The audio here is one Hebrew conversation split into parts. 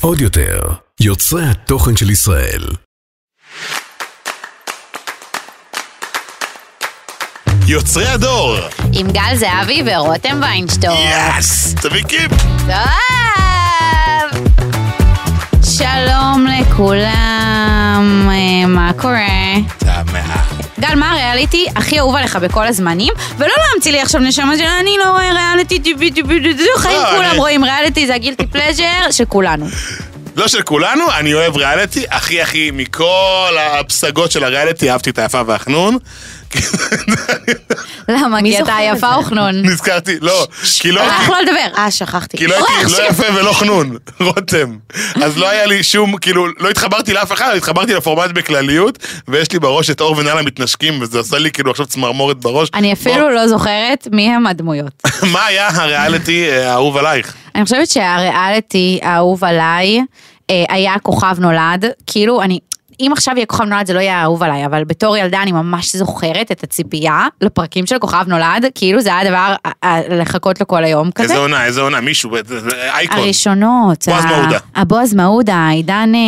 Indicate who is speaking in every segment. Speaker 1: עוד יותר, יוצרי התוכן של ישראל.
Speaker 2: יוצרי הדור!
Speaker 3: עם גל זהבי ורותם ויינשטור.
Speaker 2: יאס! תביקים!
Speaker 3: טוב! שלום לכולם, אה, מה קורה?
Speaker 2: תמה.
Speaker 3: גל, מה הריאליטי הכי אהוב עליך בכל הזמנים? ולא להמציא לי עכשיו נשמה של אני לא רואה ריאליטי, טיפי טיפי טיפי, חיים
Speaker 2: לא,
Speaker 3: כולם
Speaker 2: אני-
Speaker 3: רואים ריאליטי, זה הגילטי פלז'ר של כולנו.
Speaker 2: לא של כולנו, אני אוהב ריאליטי, הכי הכי מכל הפסגות של הריאליטי, אהבתי את היפה והחנון.
Speaker 3: למה? כי אתה
Speaker 4: זוכר את
Speaker 3: יפה
Speaker 4: זה?
Speaker 3: וכנון.
Speaker 2: נזכרתי, לא, כי לא...
Speaker 3: אתה יכול לא לדבר.
Speaker 4: אה, שכחתי.
Speaker 2: כי לא הייתי לא יפה ולא חנון, רותם. אז לא היה לי שום, כאילו, לא התחברתי לאף אחד, התחברתי לפורמט בכלליות, ויש לי בראש את אור ונאלה מתנשקים, וזה עושה לי כאילו עכשיו צמרמורת בראש.
Speaker 3: אני אפילו לא זוכרת מי הם הדמויות.
Speaker 2: בוא, מה היה הריאליטי אה, האהוב עלייך?
Speaker 3: אני חושבת שהריאליטי האהוב עליי אה, היה כוכב נולד. כאילו, אני... אם עכשיו יהיה כוכב נולד זה לא יהיה אהוב עליי, אבל בתור ילדה אני ממש זוכרת את הציפייה לפרקים של כוכב נולד, כאילו זה היה הדבר אה, אה, לחכות לו כל היום כזה.
Speaker 2: איזה עונה, איזה עונה, מישהו, אה, אה, אייקון.
Speaker 3: הראשונות.
Speaker 2: בועז
Speaker 3: ה-
Speaker 2: מעודה.
Speaker 3: הבועז מעודה, עידן אה,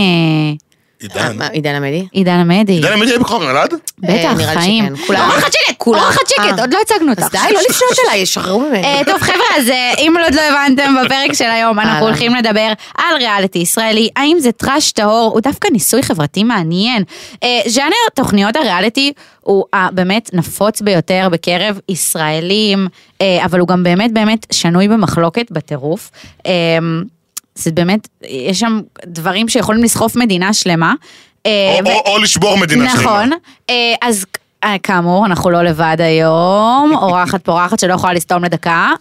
Speaker 2: עידן.
Speaker 4: מה, עידן עמדי?
Speaker 3: עידן עמדי.
Speaker 2: עידן עמית היה בכוכב נולד?
Speaker 4: אה,
Speaker 3: בטח,
Speaker 4: נראה לי
Speaker 3: חיים.
Speaker 4: שכן. כולם-
Speaker 3: אורחת שקט,
Speaker 4: אה,
Speaker 3: אורחת שקט,
Speaker 4: אה.
Speaker 3: עוד לא הצגנו אותך.
Speaker 4: אז די, לא לפנות אליי, שחררו ממני.
Speaker 3: אה, טוב חבר'ה, אז אה, אם עוד לא הבנתם בפרק של היום, אנחנו
Speaker 4: אהלן.
Speaker 3: הולכים לדבר על ריאליטי ישראלי, האם זה טראש טהור, הוא דווקא ניסוי חברתי מעניין. אה, ז'אנר תוכניות הריאליטי הוא הבאמת נפוץ ביותר בקרב ישראלים, אה, אבל הוא גם באמת באמת שנוי במחלוקת בטירוף. אה, זה באמת, יש שם דברים שיכולים לסחוף מדינה שלמה. אה,
Speaker 2: או-
Speaker 3: ו-
Speaker 2: או- או לשבור מדינה שלמה.
Speaker 3: נכון. אה, אז אה, כאמור, אנחנו לא לבד היום, אורחת פורחת שלא יכולה לסתום לדקה.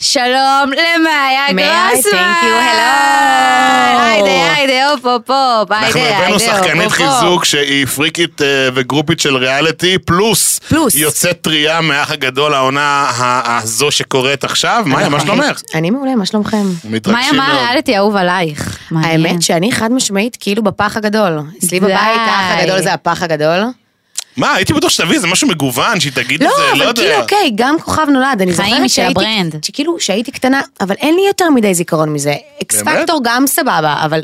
Speaker 3: שלום למאיה
Speaker 4: מאיה,
Speaker 3: גרוסמן.
Speaker 4: thank you, hello.
Speaker 3: היידה, היידה, הופ, הופ, הופ.
Speaker 2: אנחנו
Speaker 3: היידה,
Speaker 2: הבאנו
Speaker 3: היידה, הופ,
Speaker 2: שחקנית
Speaker 3: הופ,
Speaker 2: חיזוק שהיא פריקית אה, וגרופית של ריאליטי, פלוס
Speaker 4: פלוס.
Speaker 2: יוצאת טריה מהאח הגדול, העונה ה- הזו שקורית עכשיו.
Speaker 4: נכון.
Speaker 2: מאיה, מה שלומך?
Speaker 4: אני מעולה, מה שלומכם?
Speaker 3: הופ. מאיה,
Speaker 2: מתרגשים
Speaker 3: מה
Speaker 2: מאוד.
Speaker 3: הריאליטי האהוב עלייך? מעניין.
Speaker 4: האמת שאני חד משמעית כאילו בפח הגדול. אצלי
Speaker 3: די.
Speaker 4: בבית האח הגדול זה הפח הגדול.
Speaker 2: מה, הייתי בטוח שתביא איזה משהו מגוון, שהיא תגיד את
Speaker 4: לא,
Speaker 2: זה, לא
Speaker 4: אבל כאילו,
Speaker 2: יודע.
Speaker 4: אוקיי, גם כוכב נולד, אני
Speaker 3: חיים
Speaker 4: זוכרת
Speaker 3: של הברנד.
Speaker 4: שהייתי, שכאילו, שהייתי קטנה, אבל אין לי יותר מדי זיכרון מזה. אקס
Speaker 2: באמת?
Speaker 4: פקטור גם סבבה, אבל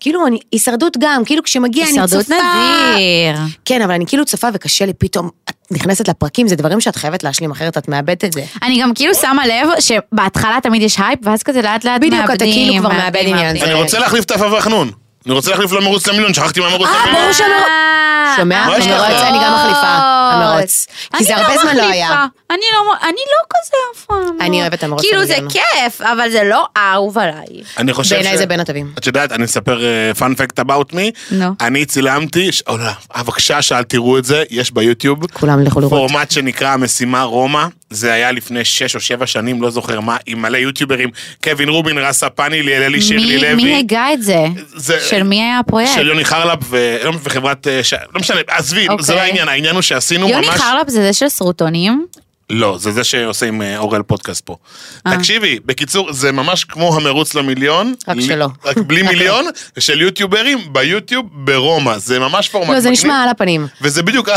Speaker 4: כאילו, אני, הישרדות גם, כאילו כשמגיע אני צופה...
Speaker 3: הישרדות נדיר.
Speaker 4: כן, אבל אני כאילו צופה וקשה לי פתאום, את נכנסת לפרקים, זה דברים שאת חייבת להשלים, אחרת את מאבדת את זה.
Speaker 3: אני גם כאילו שמה לב שבהתחלה תמיד יש הייפ, ואז כזה לאט לאט מאבדים.
Speaker 4: בדיוק, אתה כאילו כבר מאבד
Speaker 3: מאבדים,
Speaker 4: עניין.
Speaker 3: מאבדים.
Speaker 2: אני רוצה להחליף את עפר וחנון. אני רוצה להחליף למרוץ למיליון, שכחתי מהמרוץ
Speaker 4: אה,
Speaker 2: למיליון.
Speaker 4: ברור שהמרוץ... שומע?
Speaker 2: מה יש לך?
Speaker 4: המרוץ, אני גם מחליפה. המרוץ. כי זה
Speaker 3: אה, אני
Speaker 4: הרבה זמן לא
Speaker 3: מחליפה.
Speaker 4: היה.
Speaker 3: אני לא, אני לא כזה אף פעם.
Speaker 4: אני אוהבת את המרוץ
Speaker 3: כאילו זה
Speaker 4: למיליון.
Speaker 3: כיף, אבל זה לא אהוב עליי.
Speaker 2: אני חושב
Speaker 4: בעיניי זה בין הטובים.
Speaker 2: את יודעת, אני אספר אה, פאנפקט אבאוט מי.
Speaker 3: נו.
Speaker 2: אני צילמתי, ש- או לא, אה, בבקשה שאל תראו את זה, יש ביוטיוב.
Speaker 4: כולם לכו לראות.
Speaker 2: פורמט שנקרא המשימה רומא, זה היה לפני שש או שבע שנים, לא זוכר מה, עם מלא יוטיוברים, קווין רובין, רסה פאני, ליאלי שירלי
Speaker 3: מי,
Speaker 2: לוי.
Speaker 3: מי הגה את זה?
Speaker 2: זה-
Speaker 3: של מי היה הפרויקט?
Speaker 2: של יוני חרלפ ו... לא, וחברת... אה, ש... לא משנה, עזבי,
Speaker 3: אוקיי.
Speaker 2: זה לא העניין, העניין הוא שעשינו
Speaker 3: יוני
Speaker 2: ממש...
Speaker 3: חרלפ זה זה של סרוטונים?
Speaker 2: לא, זה זה שעושה עם אה, אורל פודקאסט פה. תקשיבי, בקיצור, זה ממש כמו המרוץ למיליון.
Speaker 4: אה. רק
Speaker 2: ל-
Speaker 4: שלא.
Speaker 2: רק בלי מיליון, של יוטיוברים ביוטיוב ברומא, זה ממש פורמט
Speaker 4: לא, זה
Speaker 2: מגניב,
Speaker 4: נשמע על הפנים.
Speaker 2: וזה בדיוק...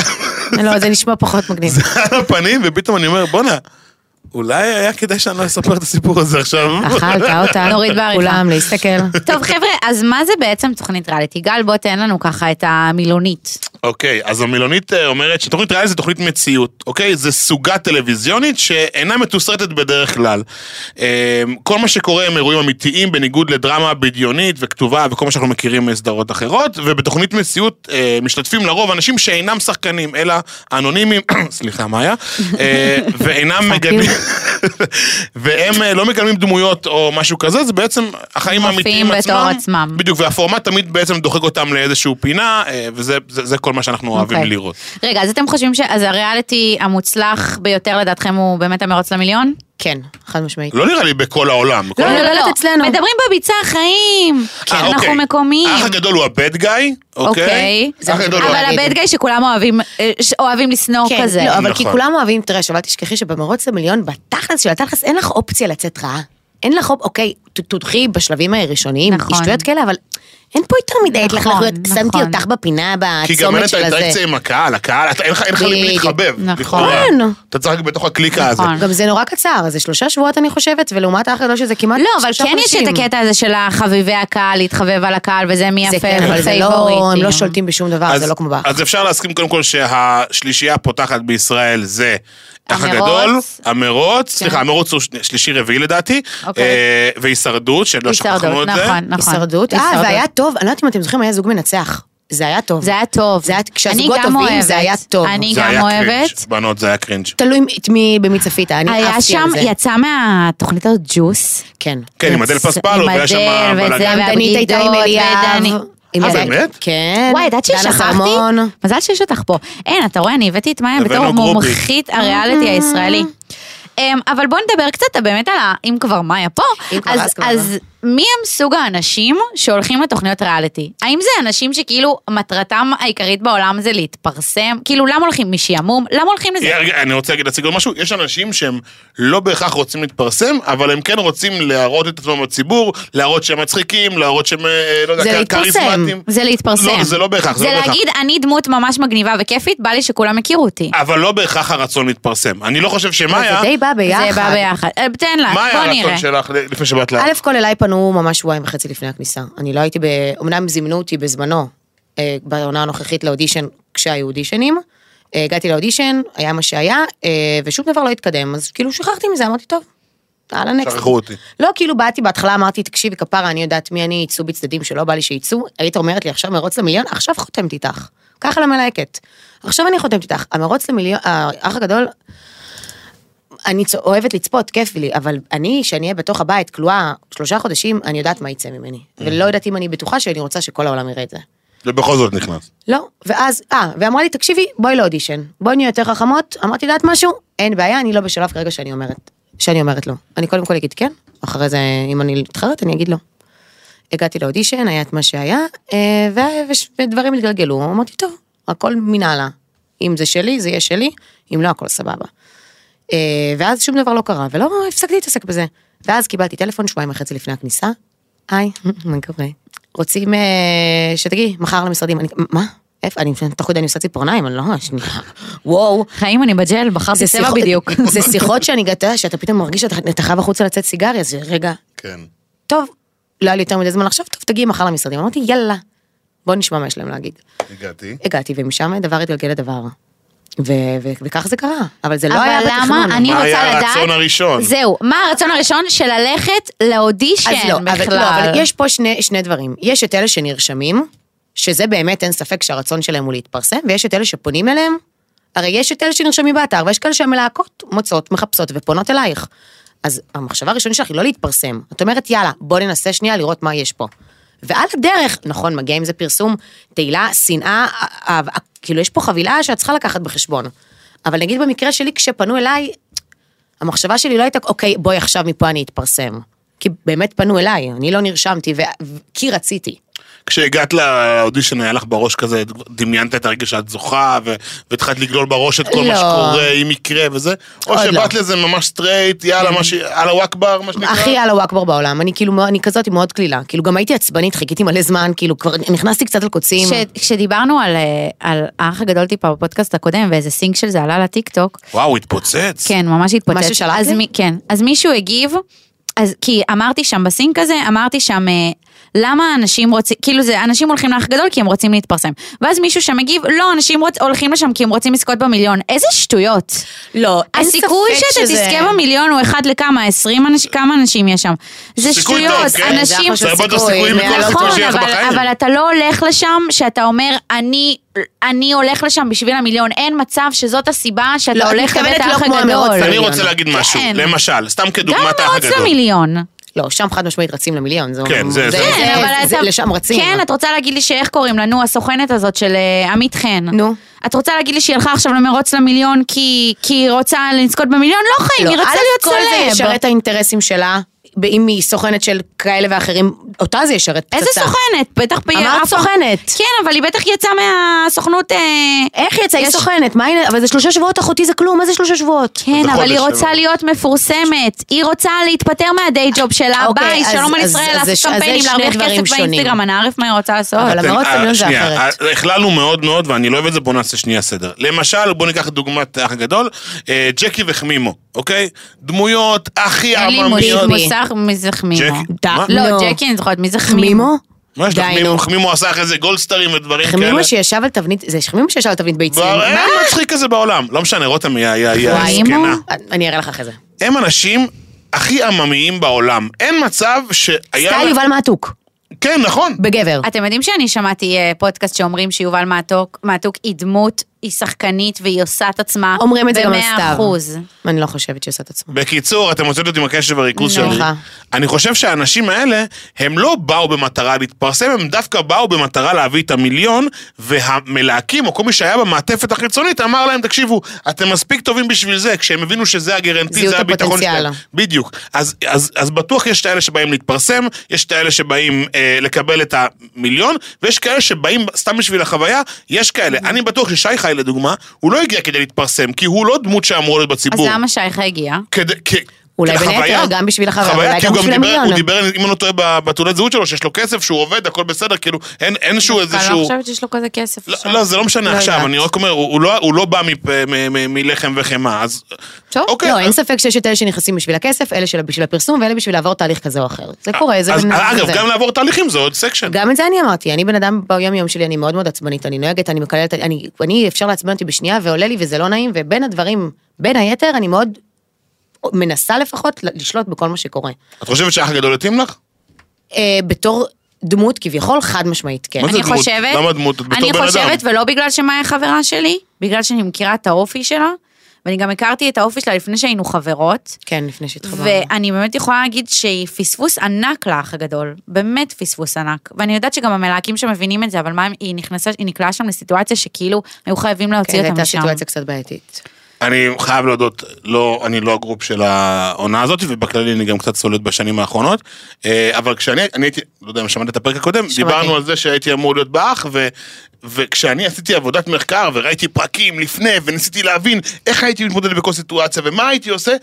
Speaker 4: לא, זה נשמע פחות מגניב.
Speaker 2: זה על הפנים, ופתאום אני אומר, בואנה, אולי היה כדאי שאני לא אספר את הסיפור הזה עכשיו.
Speaker 4: אכלת אותה.
Speaker 3: נוריד בעריכה.
Speaker 4: כולם להסתכל.
Speaker 3: טוב חבר'ה, אז מה זה בעצם תוכנית ריאליטי? גל, בוא תן לנו ככה את המילונית.
Speaker 2: אוקיי, אז המילונית אה, אומרת שתוכנית ריאליטי זה תוכנית מציאות, אוקיי? זה סוגה טלוויזיונית שאינה מתוסרטת בדרך כלל. אה, כל מה שקורה הם אירועים אמיתיים, בניגוד לדרמה בדיונית וכתובה וכל מה שאנחנו מכירים מסדרות אחרות, ובתוכנית מציאות אה, משתתפים לרוב אנשים שאינם שחקנים, אלא אנונימיים, סליחה, מאיה, אה, ואינם מגנים, והם אה, לא מגלמים דמויות או משהו כזה, זה בעצם החיים
Speaker 3: מופיעים
Speaker 2: האמיתיים עצמם.
Speaker 3: בתור עצמם.
Speaker 2: בדיוק, והפורמט תמיד בעצם דוחק אותם לאיזשהו פינה, אה, וזה זה, זה כל מה שאנחנו אוהבים
Speaker 3: אוקיי.
Speaker 2: לראות.
Speaker 3: רגע, אז אתם חושבים שאז הריאליטי המוצלח ביותר לדעתכם הוא באמת המרוץ למיליון?
Speaker 4: כן, חד משמעית.
Speaker 2: לא נראה לי בכל העולם. בכל...
Speaker 4: לא, אני מדברת אצלנו.
Speaker 3: מדברים בביצה חיים. כן,
Speaker 2: אה,
Speaker 3: אנחנו
Speaker 2: אוקיי.
Speaker 3: מקומיים.
Speaker 2: האח הגדול הוא הבד גאי, אוקיי?
Speaker 3: אוקיי.
Speaker 2: האח הגדול הוא
Speaker 3: אבל
Speaker 4: להגיד.
Speaker 3: הבד גיא שכולם אוהבים, אה, ש- אוהבים לשנוא
Speaker 4: לא, כן,
Speaker 3: כזה.
Speaker 4: לא, אבל כי
Speaker 2: נכון.
Speaker 4: כולם אוהבים טרש, אבל אל תשכחי שבמרוץ למיליון, בתכלס של התכלס אין לך אופציה לצאת רעה. אין לך אופ... אוקיי, ת- תודחי בשלבים הראשוניים,
Speaker 3: נכון.
Speaker 4: נכון. שטויות כאלה, אבל אין פה יותר מדי
Speaker 3: נכון,
Speaker 4: התלכלכויות,
Speaker 3: נכון.
Speaker 4: שמתי אותך בפינה
Speaker 2: כי גם אין
Speaker 4: בצומת
Speaker 2: את
Speaker 4: של הזה.
Speaker 2: האינטראקציה עם הקהל, הקהל, אתה- אין לך אין לך למי
Speaker 4: בדיוק.
Speaker 2: להתחבב.
Speaker 3: נכון.
Speaker 2: לכאורה.
Speaker 4: כן.
Speaker 2: אתה צריך רק בתוך הקליקה הזאת.
Speaker 3: נכון.
Speaker 4: גם זה נורא קצר, זה שלושה שבועות אני חושבת, ולעומת האחרדות שזה כמעט
Speaker 3: לא, אבל
Speaker 4: שלושה
Speaker 3: כן יש את
Speaker 4: חודשים.
Speaker 3: הקטע הזה של החביבי הקהל, להתחבב על הקהל, וזה מי
Speaker 4: זה
Speaker 3: יפה,
Speaker 4: כן, אבל זה לא, הם לא שולטים בשום דבר, זה לא כמו באחר.
Speaker 2: אז אפשר להסכים קודם כל שהשלישייה הפותחת בישראל זה... אח
Speaker 3: המרוץ. כן.
Speaker 2: הגדול, המרוץ, סליחה, המרוץ הוא שלישי רביעי לדעתי,
Speaker 3: אוקיי.
Speaker 2: אה, והישרדות, שלא שכחנו
Speaker 3: הישרדות,
Speaker 2: את זה.
Speaker 3: נכון, נכון.
Speaker 4: הישרדות. אה, והיה טוב, אני לא יודעת אם אתם זוכרים, היה זוג מנצח. זה היה טוב.
Speaker 3: זה היה טוב.
Speaker 4: זה היה- כשהזוגות
Speaker 3: אני גם
Speaker 4: טובים,
Speaker 3: אוהבת.
Speaker 4: זה היה טוב.
Speaker 3: אני
Speaker 2: זה
Speaker 3: גם
Speaker 2: היה
Speaker 3: אוהבת.
Speaker 2: קרינג', בנות זה היה קרינג'.
Speaker 4: תלוי את מי, במי צפית, אני
Speaker 3: היה
Speaker 4: עפתי
Speaker 3: שם,
Speaker 4: על זה.
Speaker 3: יצא מהתוכנית הזאת ג'וס.
Speaker 4: כן.
Speaker 2: כן,
Speaker 3: יצא-
Speaker 2: עם אדל פספלו, והיה שם
Speaker 3: עם אדל וזה,
Speaker 2: בלאגן.
Speaker 3: והבגידות,
Speaker 4: דנית הייתה עם אליאב.
Speaker 3: כן, ודני-
Speaker 4: עם
Speaker 2: אה,
Speaker 4: אליאב.
Speaker 2: באמת?
Speaker 4: כן.
Speaker 3: וואי, ידעת
Speaker 4: דנה
Speaker 3: ששכחתי?
Speaker 4: סלמון.
Speaker 3: מזל שיש אותך פה. אין, אתה רואה, אני הבאתי את מאיה בתור
Speaker 2: הבאנו גרופיק.
Speaker 3: מומחית הריאליטי הישראלי. אמ, אבל בוא נדבר קצת באמת על ה... אם כבר מאיה פה,
Speaker 4: אם כבר,
Speaker 3: אז,
Speaker 4: אז כבר. לא.
Speaker 3: אז מי הם סוג האנשים שהולכים לתוכניות ריאליטי? האם זה אנשים שכאילו מטרתם העיקרית בעולם זה להתפרסם? כאילו, למה הולכים משעמום? למה הולכים לזה?
Speaker 2: רגע, אני רוצה להגיד להציג עוד משהו, יש אנשים שהם לא בהכרח רוצים להתפרסם, אבל הם כן רוצים להראות את עצמם בציבור, להראות שהם מצחיקים, להראות שהם, אה, לא יודע,
Speaker 4: זה
Speaker 2: כ-
Speaker 4: להתפרסם.
Speaker 2: כריזמטיים.
Speaker 3: זה להתפרסם.
Speaker 2: לא, זה לא בהכרח, זה
Speaker 3: זה
Speaker 2: לא בהכרח.
Speaker 3: להגיד, אני דמות ממש מגניבה וכיפית, בא לי שכולם יכירו אותי.
Speaker 2: אבל לא בהכרח הרצון להתפרסם. אני לא חושב שמאיה,
Speaker 4: זה די בא ביחד.
Speaker 3: זה בא ביחד. אה, תן לה,
Speaker 2: מה היה
Speaker 3: בוא נראה.
Speaker 2: הרצון שלך ל- לפני שבאת לה?
Speaker 4: א' כל אליי פנו ממש שבועיים וחצי לפני הכניסה. אני לא הייתי ב... אמנם זימנו אותי בזמנו, אה, בעונה הנוכחית לאודישן, כשהיו אודישנים. אה, הגעתי לאודישן, היה מה שהיה, אה, ושום דבר לא התקדם, אז כאילו שכחתי מזה, אמרתי, טוב, יאללה נקסט.
Speaker 2: שכחו אותי.
Speaker 4: לא, כאילו באתי בהתחלה, אמרתי, תקשיבי, כפרה, אני יודעת מי אני, יצאו בצדדים שלא בא לי שיצאו, היית אומרת לי, עכשיו מרוץ למיליון, עכשיו חותמת איתך. ככה למלהקת. עכשיו אני חותמת איתך. המרוץ למיליון, אה, האח הגדול, אני צ- אוהבת לצפות, כיף לי, אבל אני, שאני אהיה בתוך הבית, כלואה, שלושה חודשים, אני יודעת מה יצא ממני. ולא יודעת אם אני בטוחה שאני רוצה שכל העולם יראה את זה.
Speaker 2: ובכל זאת נכנס.
Speaker 4: לא, ואז, אה, ואמרה לי, תקשיבי, בואי לאודישן, בואי נהיה יותר חכמות, אמרתי, יודעת משהו? אין בעיה, אני לא בשלב כרגע שאני אומרת, שאני אומרת לא. אני קודם כל אגיד כן, אחרי זה, אם אני מתחרט, אני אגיד לא. הגעתי לאודישן, היה את מה שהיה, אה, ו- וש- ודברים התגלגלו, אמרתי, טוב, הכל מנהלה. אם זה שלי, זה יהיה שלי, אם לא, הכל סבבה. אה, ואז שום דבר לא קרה, ולא הפסקתי להתעסק בזה. ואז קיבלתי טלפון שבועיים וחצי לפני הכניסה, היי, מה קורה? רוצים אה, שתגיעי, מחר למשרדים, אני, מה? איפה? אני, אתה יודע, אני עושה ציפורניים, אני לא, שנייה, וואו.
Speaker 3: חיים אני בג'ל, בחרתי צבע
Speaker 4: שיחות-
Speaker 3: בדיוק.
Speaker 4: זה שיחות שאני גתה, שאתה פתאום מרגיש שאתה אתה חייב החוצה לצאת סיגריה, אז רגע,
Speaker 2: כן.
Speaker 4: טוב, לא היה לי יותר מדי זמן לחשוב, טוב, תגיעי מחר למשרדים. אמרתי, יאללה, בוא נשמע מה יש להם להגיד.
Speaker 2: הגעתי.
Speaker 4: הגעתי, ומשם דבר התגלגל לדבר. ו- ו- וכך זה קרה, אבל זה לא היה
Speaker 3: אבל
Speaker 4: בתכנון.
Speaker 3: למה? אני
Speaker 2: מה
Speaker 3: רוצה לדעת...
Speaker 2: היה הרצון הראשון?
Speaker 3: זהו, מה הרצון הראשון של ללכת לאודישן
Speaker 4: אז לא,
Speaker 3: בכלל?
Speaker 4: אבל, לא, אבל יש פה שני, שני דברים. יש את אלה שנרשמים, שזה באמת אין ספק שהרצון שלהם הוא להתפרסם, ויש את אלה שפונים אליהם. הרי יש את אלה שנרשמים באתר, ויש כאלה שהמלהקות מוצאות, מחפשות ופונות אלייך. אז המחשבה הראשונה שלך היא לא להתפרסם. את אומרת, יאללה, בוא ננסה שנייה לראות מה יש פה. ועל הדרך, נכון, מגיע עם זה פרסום, תהילה, שנאה, אה, אה, כאילו יש פה חבילה שאת צריכה לקחת בחשבון. אבל נגיד במקרה שלי, כשפנו אליי, המחשבה שלי לא הייתה, אוקיי, בואי עכשיו מפה אני אתפרסם. כי באמת פנו אליי, אני לא נרשמתי, ו... ו- כי רציתי.
Speaker 2: כשהגעת לאודישן היה לך בראש כזה, דמיינת את הרגע שאת זוכה, ו- והתחלת לגלול בראש את כל מה
Speaker 4: לא.
Speaker 2: שקורה, אם יקרה וזה, או
Speaker 4: עוד
Speaker 2: שבאת
Speaker 4: לא. כן.
Speaker 2: לזה ממש סטרייט, יאללה, מה ש... אללה וואכבר, מה שנקרא.
Speaker 3: לא-
Speaker 4: הכי על הוואקבור בעולם, אני כאילו, מאוד- אני כזאת מאוד קלילה. כאילו, גם הייתי עצבנית, חיכיתי מלא זמן, כאילו, כבר נכנסתי קצת על קוצים.
Speaker 3: כש- כשדיברנו על, אה, על האח הגדול טיפה בפודקאסט הקודם, ואיזה סינק של זה עלה לטיקטוק,
Speaker 2: וואו, התפוצץ.
Speaker 3: כן, ממש התפוצץ.
Speaker 4: מה ששלחת
Speaker 3: אז
Speaker 4: לי?
Speaker 3: מי- כן. אז מישהו הגיב, אז כי אמרתי שם בסינק הזה, אמרתי שם... אה, למה אנשים רוצים, כאילו זה, אנשים הולכים לאח גדול כי הם רוצים להתפרסם. ואז מישהו שם מגיב, לא, אנשים רוצ, הולכים לשם כי הם רוצים לזכות במיליון. איזה שטויות.
Speaker 4: לא, אין
Speaker 3: הסיכוי
Speaker 4: ספק
Speaker 3: שאתה
Speaker 4: שזה-
Speaker 3: תזכה במיליון הוא אחד לכמה, 20 אנשים, כמה אנשים יש שם. זה
Speaker 2: סיכוי טוב,
Speaker 3: שטויות,
Speaker 2: כן.
Speaker 4: זה
Speaker 3: אנשים...
Speaker 4: אחלה של
Speaker 2: זה הרבה יותר
Speaker 4: סיכוי,
Speaker 2: סיכויים מכל
Speaker 4: מאה לא
Speaker 2: הסיכוי
Speaker 3: נכון,
Speaker 2: שיהיה לך
Speaker 3: אבל,
Speaker 2: בחיים.
Speaker 3: אבל אתה לא הולך לשם שאתה אומר, אני, אני הולך לשם בשביל המיליון. אין מצב שזאת הסיבה שאתה
Speaker 4: לא, את
Speaker 3: הולך לבית
Speaker 4: מתכוונת לא
Speaker 3: האח
Speaker 4: כמו המרוץ
Speaker 3: הגדול.
Speaker 2: אני
Speaker 4: למיליון.
Speaker 2: רוצה להגיד משהו,
Speaker 3: כן.
Speaker 2: למשל, סתם
Speaker 3: גם
Speaker 2: כדוגמת האח
Speaker 3: המרוץ
Speaker 2: הגדול.
Speaker 3: למיליון.
Speaker 4: לא, שם חד משמעית רצים למיליון, זה...
Speaker 2: כן, זה- זה-
Speaker 3: כן,
Speaker 4: זה-
Speaker 3: אבל
Speaker 4: זה-
Speaker 3: אתה...
Speaker 4: לשם רצים.
Speaker 3: כן, את רוצה להגיד לי שאיך קוראים לה, נו, הסוכנת הזאת של אה, עמית חן.
Speaker 4: נו.
Speaker 3: את רוצה להגיד לי שהיא הלכה עכשיו למרוץ למיליון כי כי היא רוצה לזכות במיליון? לא חיים, היא רצתה
Speaker 4: א',
Speaker 3: להיות
Speaker 4: כל זה
Speaker 3: סלב.
Speaker 4: ישרת את האינטרסים שלה. ב- אם היא סוכנת של כאלה ואחרים, אותה זה ישרת פצצה.
Speaker 3: איזה סוכנת? בטח פעיל...
Speaker 4: אמרת סוכנת.
Speaker 3: כן, אבל היא בטח יצאה מהסוכנות... אה,
Speaker 4: איך יצא? היא
Speaker 3: יש-
Speaker 4: סוכנת, מה היא... אבל זה שלושה שבועות, אחותי זה כלום, מה זה שלושה שבועות?
Speaker 3: כן,
Speaker 2: בחודש
Speaker 3: אבל היא רוצה
Speaker 2: שלו.
Speaker 3: להיות מפורסמת. היא רוצה להתפטר מהדיי ג'וב שלה,
Speaker 4: אוקיי,
Speaker 3: ביי,
Speaker 4: אז-
Speaker 3: שלום על
Speaker 4: אז-
Speaker 3: ישראל,
Speaker 4: אז זה ש-
Speaker 3: לעשות
Speaker 4: אז זה
Speaker 3: קמפיינים,
Speaker 4: שני
Speaker 3: להרוויח
Speaker 4: דברים
Speaker 3: כסף
Speaker 4: שונים.
Speaker 3: באינסטגרם, אנה ערף מה היא רוצה לעשות.
Speaker 4: אבל
Speaker 2: אתם-
Speaker 4: המרוץ
Speaker 2: אה,
Speaker 4: סביון זה
Speaker 2: שנייה,
Speaker 4: אחרת.
Speaker 2: אה, הכללנו מאוד מאוד, ואני לא אוהב את זה, בואו נעשה שנייה סדר. למשל, בואו ניקח את דוגמת האח הגדול, אה, ג'קי וחמימו, אוקיי? דמויות הכי
Speaker 3: אין לי
Speaker 2: עממיות.
Speaker 4: מי.
Speaker 3: מוסך מי זה חמימו.
Speaker 2: ג'קי?
Speaker 4: ד-
Speaker 2: מה?
Speaker 3: לא,
Speaker 4: לא.
Speaker 3: ג'קי, אני זוכרת מי זה חמימו.
Speaker 4: חמימו?
Speaker 2: מה יש לך?
Speaker 4: די,
Speaker 2: חמימו-
Speaker 4: נו.
Speaker 2: חמימו עשה אחרי זה גולדסטרים ודברים כאלה.
Speaker 4: חמימו שישב על תבנית, זה חמימו שישב על תבנית ביצים.
Speaker 2: כן. כבר אין
Speaker 4: מה?
Speaker 2: מצחיק כזה בעולם. לא משנה, רותם היא ה- היא ה- היא
Speaker 3: וואי,
Speaker 2: הזקנה.
Speaker 3: מו.
Speaker 4: אני אראה לך אחרי זה.
Speaker 2: הם אנשים הכי עממיים בעולם. אין מצב שהיה...
Speaker 4: סטייל יובל מעתוק,
Speaker 2: כן, נכון.
Speaker 4: בגבר.
Speaker 3: אתם יודעים שאני שמעתי אה, פודקאסט שאומרים שיובל מעתוק- מעתוק היא דמות, היא שחקנית והיא עושה את עצמה.
Speaker 4: אומרים את זה גם על
Speaker 3: במאה
Speaker 4: סתיו.
Speaker 3: אחוז.
Speaker 4: אני לא חושבת שעושה את עצמו.
Speaker 2: בקיצור, אתם מוצאים אותי עם הקשב והריכוז
Speaker 4: נו.
Speaker 2: שלי.
Speaker 4: נכון.
Speaker 2: אני חושב שהאנשים האלה, הם לא באו במטרה להתפרסם, הם דווקא באו במטרה להביא את המיליון, והמלהקים, או כל מי שהיה במעטפת החיצונית, אמר להם, תקשיבו, אתם מספיק טובים בשביל זה, כשהם הבינו שזה הגרנטי,
Speaker 4: זיהו
Speaker 2: זה
Speaker 4: את
Speaker 2: הביטחון
Speaker 4: הפוטנציאל.
Speaker 2: שלהם. בדיוק. אז, אז, אז בטוח יש את האלה שבאים להתפרסם, יש את האלה שבאים אה, לקבל את המיליון, ויש כאלה שבאים סתם בשביל החוויה, יש כאלה. אני בטוח ששי חי, לדוגמה, הוא לא הגיע כדי להתפרסם, כי הוא לא דמות שאמור להיות
Speaker 3: אז
Speaker 2: בציבור.
Speaker 3: למה שייכה הגיע?
Speaker 2: כדי, כ...
Speaker 4: אולי בין
Speaker 2: לחוויה.
Speaker 4: היתר, גם בשביל החוויה, אולי
Speaker 2: כי
Speaker 4: גם
Speaker 2: הוא
Speaker 4: בשביל
Speaker 2: דיבר,
Speaker 4: המיליון.
Speaker 2: הוא דיבר, אם אני לא טועה, ב- בתעודת זהות שלו, שיש לו כסף, שהוא עובד, הכל בסדר, כאילו, אין, אין שהוא
Speaker 3: אני לא
Speaker 2: איזשהו...
Speaker 3: חושבת שיש לו כזה כסף.
Speaker 2: לא,
Speaker 3: עכשיו.
Speaker 2: לא, זה לא משנה
Speaker 4: לא
Speaker 2: עכשיו,
Speaker 4: יודעת.
Speaker 2: אני רק אומר, הוא, הוא, לא, הוא לא בא מפ, מ, מ, מלחם וחמאה, אז...
Speaker 3: טוב,
Speaker 2: אוקיי,
Speaker 4: לא,
Speaker 2: אז-
Speaker 4: אין ספק שיש את אלה שנכנסים בשביל הכסף, אלה של- בשביל הפרסום ואלה בשביל לעבור תהליך כזה או אחר. זה קורה, זה
Speaker 2: אה, אז,
Speaker 4: בן אדם
Speaker 2: אגב,
Speaker 4: כזה.
Speaker 2: גם לעבור תהליכים זה עוד סקשן.
Speaker 4: גם את זה אני אמרתי, אני בן אדם ביום יום שלי, אני מאוד מאוד עצבנית, אני נוהגת, אני מקללת, אני, אני אפשר לעצבן אותי בשנייה ועולה לי וזה לא נעים, ובין הדברים, בין היתר, אני מאוד מנסה לפחות לשלוט בכל מה שקורה.
Speaker 2: את חושבת שהאח הגדול התאים לך?
Speaker 4: אה, בתור דמות כביכול חד משמעית, כן.
Speaker 2: מה זה
Speaker 3: אני
Speaker 2: דמות?
Speaker 3: חושבת,
Speaker 2: למה דמות? את בתור
Speaker 3: אני
Speaker 2: בן אדם.
Speaker 3: חושבת, ולא בגלל שמאיה חברה שלי, בגלל שאני מכירה את האופי שלה, ואני גם הכרתי את האופי שלה לפני שהיינו חברות,
Speaker 4: כן, לפני שהתחברנו.
Speaker 3: ואני באמת יכולה להגיד שהיא פספוס ענק לאח הגדול, באמת פספוס ענק. ואני יודעת שגם המלהקים שמבינים את זה, אבל מה, אם- היא נכנסה, היא נקלעה שם לסיטואציה שכאילו, היו חייבים
Speaker 4: כן,
Speaker 3: להוציא
Speaker 4: זו
Speaker 3: אותם
Speaker 4: הייתה
Speaker 3: משם.
Speaker 4: סיטואציה קצת בעייתית.
Speaker 2: אני חייב להודות, לא, אני לא הגרופ של העונה הזאת, ובכללי אני גם קצת סולט בשנים האחרונות, אה, אבל כשאני אני הייתי, לא יודע אם שמעת את הפרק הקודם, דיברנו על זה שהייתי אמור להיות באח, ו, וכשאני עשיתי עבודת מחקר וראיתי פרקים לפני, וניסיתי להבין איך הייתי מתמודד בכל סיטואציה ומה הייתי עושה,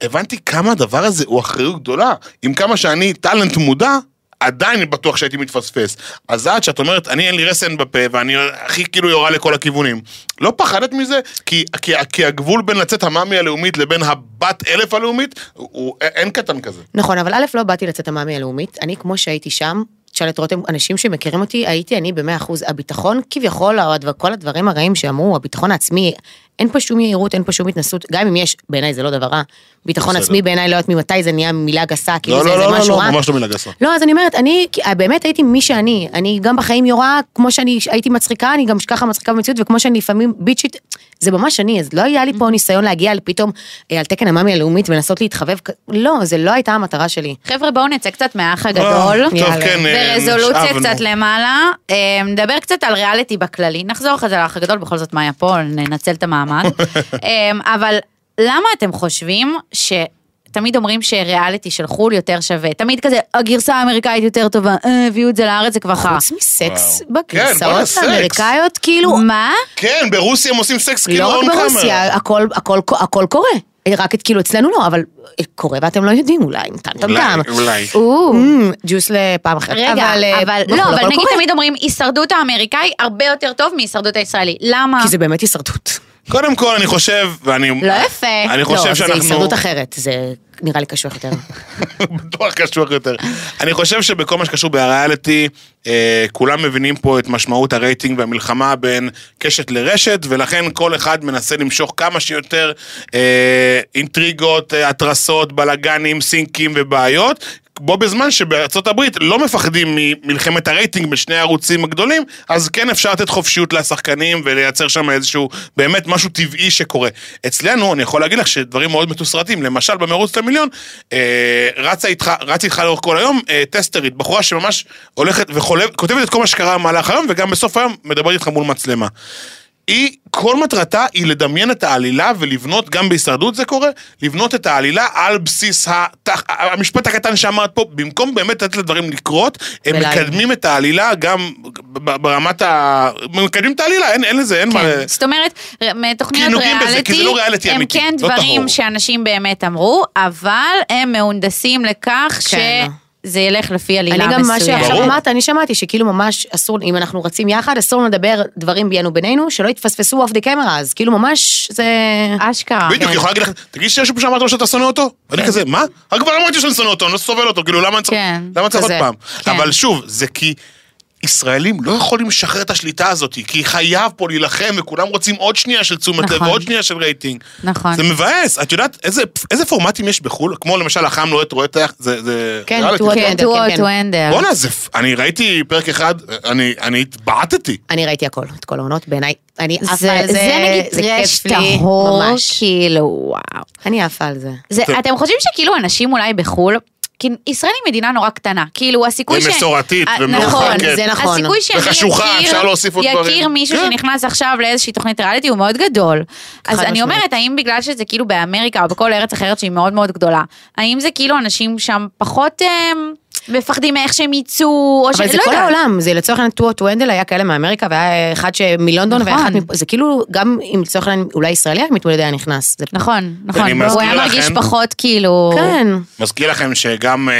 Speaker 2: הבנתי כמה הדבר הזה הוא אחריות גדולה, עם כמה שאני טאלנט מודע. עדיין אני בטוח שהייתי מתפספס. אז את, שאת אומרת, אני אין לי רסן בפה, ואני הכי כאילו יורה לכל הכיוונים. לא פחדת מזה? כי, כי, כי הגבול בין לצאת המאמי הלאומית לבין הבת אלף הלאומית, הוא, הוא א- אין קטן כזה.
Speaker 4: נכון, אבל א', לא באתי לצאת המאמי הלאומית, אני כמו שהייתי שם, תשאל את רותם, אנשים שמכירים אותי, הייתי אני במאה אחוז, הביטחון כביכול, או הדבר- כל הדברים הרעים שאמרו, הביטחון העצמי, אין פה שום יהירות, אין פה שום התנסות, גם אם יש, בעיניי זה לא דבר רע, ביטחון
Speaker 2: בסדר.
Speaker 4: עצמי בעיניי לא יודעת ממתי זה נהיה מילה גסה, כאילו
Speaker 2: לא,
Speaker 4: זה,
Speaker 2: לא,
Speaker 4: זה
Speaker 2: לא, לא,
Speaker 4: משהו רע.
Speaker 2: לא, ממש לא מילה גסה.
Speaker 4: לא, אז אני אומרת, אני כי- באמת הייתי מי שאני. אני גם בחיים יורה, כמו שאני הייתי מצחיקה, אני גם ככה מצחיקה במציאות, וכמו שאני לפעמים ביצ'ית, זה ממש אני, אז לא היה
Speaker 3: Mm.
Speaker 4: לי פה ניסיון להגיע פתאום אה, על תקן המאמי הלאומית ולנסות להתחבב, כ- לא, זה לא הייתה המטרה שלי.
Speaker 3: חבר'ה, בואו נצא קצת מהאח הגדול.
Speaker 2: אה, טוב,
Speaker 4: יאללה.
Speaker 2: כן, אה,
Speaker 3: ברזולוציה
Speaker 2: נשאבנו.
Speaker 3: קצת למעלה, אה, נדבר קצת על ריאליטי בכללי, נחזור אחרי זה לאח הגדול, בכל זאת מאיה פה, ננצל את המעמד. אה, אבל למה אתם חושבים ש... תמיד אומרים שריאליטי של חו"ל יותר שווה, תמיד כזה, הגרסה האמריקאית יותר טובה, אה, הביאו את זה לארץ, זה כבר חרא.
Speaker 4: חוץ מסקס
Speaker 2: וואו. כן, בואנה,
Speaker 4: בגרסאות
Speaker 2: סקס.
Speaker 4: האמריקאיות, כאילו,
Speaker 3: מה?
Speaker 2: כן, ברוסיה הם עושים סקס כאילו
Speaker 4: לא רק
Speaker 2: און קאמר.
Speaker 4: ברוסיה, הכל- הכל- הכל קורה. רק את- כאילו אצלנו לא, אבל קורה ואתם לא יודעים, אולי נתנתם
Speaker 2: אולי,
Speaker 4: גם.
Speaker 2: אולי.
Speaker 3: או.
Speaker 4: אמ, ג'וס לפעם אחרת.
Speaker 3: רגע,
Speaker 4: אה,
Speaker 3: אבל
Speaker 4: הכל-
Speaker 3: לא, אבל
Speaker 4: הכל
Speaker 3: נגיד
Speaker 4: קורה.
Speaker 3: תמיד אומרים, הישרדות האמריקאי הרבה יותר טוב מהישרדות הישראלי, למה?
Speaker 4: כי זה באמת הישרדות.
Speaker 2: קודם כל, אני חושב, ואני...
Speaker 3: לא יפה.
Speaker 2: אני
Speaker 4: לא,
Speaker 2: חושב
Speaker 4: זה
Speaker 2: שאנחנו...
Speaker 4: הישרדות אחרת, זה נראה לי קשוח יותר.
Speaker 2: בטוח קשוח יותר. אני חושב שבכל מה שקשור בריאליטי, אה, כולם מבינים פה את משמעות הרייטינג והמלחמה בין קשת לרשת, ולכן כל אחד מנסה למשוך כמה שיותר אה, אינטריגות, אה, התרסות, בלאגנים, סינקים ובעיות. בו בזמן שבארצות הברית לא מפחדים ממלחמת הרייטינג בשני הערוצים הגדולים, אז כן אפשר לתת חופשיות לשחקנים ולייצר שם איזשהו באמת משהו טבעי שקורה. אצלנו, אני יכול להגיד לך שדברים מאוד מתוסרטים, למשל במרוץ למיליון, אה, רצה איתך, רצה איתך לאורך כל היום אה, טסטרית, בחורה שממש הולכת וכותבת את כל מה שקרה במהלך היום, וגם בסוף היום מדברת איתך מול מצלמה. היא, כל מטרתה היא לדמיין את העלילה ולבנות, גם בהישרדות זה קורה, לבנות את העלילה על בסיס התח... המשפט הקטן שאמרת פה, במקום באמת לתת לדברים לקרות, הם
Speaker 4: ולהגיד.
Speaker 2: מקדמים את העלילה גם ב- ברמת ה... מקדמים את העלילה, אין, אין לזה, אין מה...
Speaker 3: כן, זאת אומרת, ר- מתוכניות
Speaker 2: כי נוגעים בזה, כי זה לא ריאליטי
Speaker 3: ריאליטי, הם
Speaker 2: אמיתי,
Speaker 3: כן
Speaker 2: לא
Speaker 3: דברים
Speaker 2: טהור.
Speaker 3: שאנשים באמת אמרו, אבל הם מהונדסים לכך
Speaker 4: כן.
Speaker 3: שזה ילך לפי
Speaker 4: אני
Speaker 3: עלילה
Speaker 4: גם מה
Speaker 3: מסוימת.
Speaker 4: שעכשיו
Speaker 2: ברור.
Speaker 4: אמרת, אני שמעתי שכאילו ממש אסור, אם אנחנו רצים יחד, אסור לנו לדבר דברים בינו בינינו, שלא יתפספסו אוף דה קמרה, אז כאילו ממש זה...
Speaker 3: אשכרה.
Speaker 2: בדיוק,
Speaker 3: כן.
Speaker 2: היא יכולה להגיד לך, תגיד שיש פה שאמרת לו שאתה שונא אותו? אני כזה, מה? רק כבר אמרתי שאני שונא אותו, אני לא סובל אותו, כאילו למה אני צריך-
Speaker 3: כן,
Speaker 2: למה אני צריך עוד
Speaker 3: כזה,
Speaker 2: פעם?
Speaker 3: כן.
Speaker 2: אבל שוב, זה כי ישראלים לא יכולים לשחרר את השליטה הזאת, כי חייב פה להילחם, וכולם רוצים עוד שנייה של תשומת לב,
Speaker 3: נכון.
Speaker 2: ועוד שנייה של רייטינג.
Speaker 3: נכון.
Speaker 2: זה מבאס, את יודעת איזה- איזה פורמטים יש בחו"ל? כמו למשל, החם לוהט רואה תח, זה- זה...
Speaker 4: כן,
Speaker 2: ריאליטי.
Speaker 4: טועה.
Speaker 3: כן,
Speaker 4: טו-אנדר,
Speaker 3: to
Speaker 4: כן,
Speaker 3: all to
Speaker 4: כן.
Speaker 3: ender.
Speaker 2: בואנה, זה... פ- אני ראיתי פרק אחד, אני אני התבעטתי.
Speaker 4: אני ראיתי הכל, את כל העונות, בעיניי, אני עפה על
Speaker 3: זה,
Speaker 4: זה,
Speaker 3: זה נגיד
Speaker 4: זה
Speaker 3: טרש
Speaker 4: כיף לי,
Speaker 3: טהור,
Speaker 4: ממש.
Speaker 3: כאילו, וואו.
Speaker 4: אני עפה על זה.
Speaker 3: זה,
Speaker 2: טוב.
Speaker 3: אתם חושבים שכאילו אנשים אולי בחו"ל, כי ישראל היא מדינה נורא קטנה, כאילו הסיכוי ש...
Speaker 2: ומסורתית,
Speaker 3: אה,
Speaker 2: ומרוחקת.
Speaker 3: נכון,
Speaker 4: זה נכון.
Speaker 3: הסיכוי שאני
Speaker 2: וחשוכה,
Speaker 3: יכיר-
Speaker 2: אפשר להוסיף עוד
Speaker 3: יכיר
Speaker 2: דברים.
Speaker 3: מישהו
Speaker 2: כן.
Speaker 3: שנכנס עכשיו לאיזושהי תוכנית ריאליטי הוא מאוד גדול. אז אני
Speaker 4: משמעית.
Speaker 3: אומרת, האם בגלל שזה כאילו באמריקה או בכל ארץ אחרת שהיא מאוד מאוד גדולה, האם זה כאילו אנשים שם פחות אה, מפחדים מאיך שהם יצאו, או ש...
Speaker 4: אבל זה
Speaker 3: לא
Speaker 4: כל
Speaker 3: יודעת.
Speaker 4: העולם, זה לצורך העניין טו טו הנדל היה כאלה מאמריקה, והיה אחד שמלונדון
Speaker 3: נכון.
Speaker 4: ואחד מפה, זה כאילו גם אם לצורך העניין אולי ישראלי היה מתמודד היה נכנס. זה-
Speaker 3: נכון,
Speaker 2: אני
Speaker 3: נכון, הוא
Speaker 2: מזכיר
Speaker 3: היה מרגיש
Speaker 2: לכם-
Speaker 3: פחות כאילו...
Speaker 4: כן.
Speaker 2: מזכיר לכם שגם אה,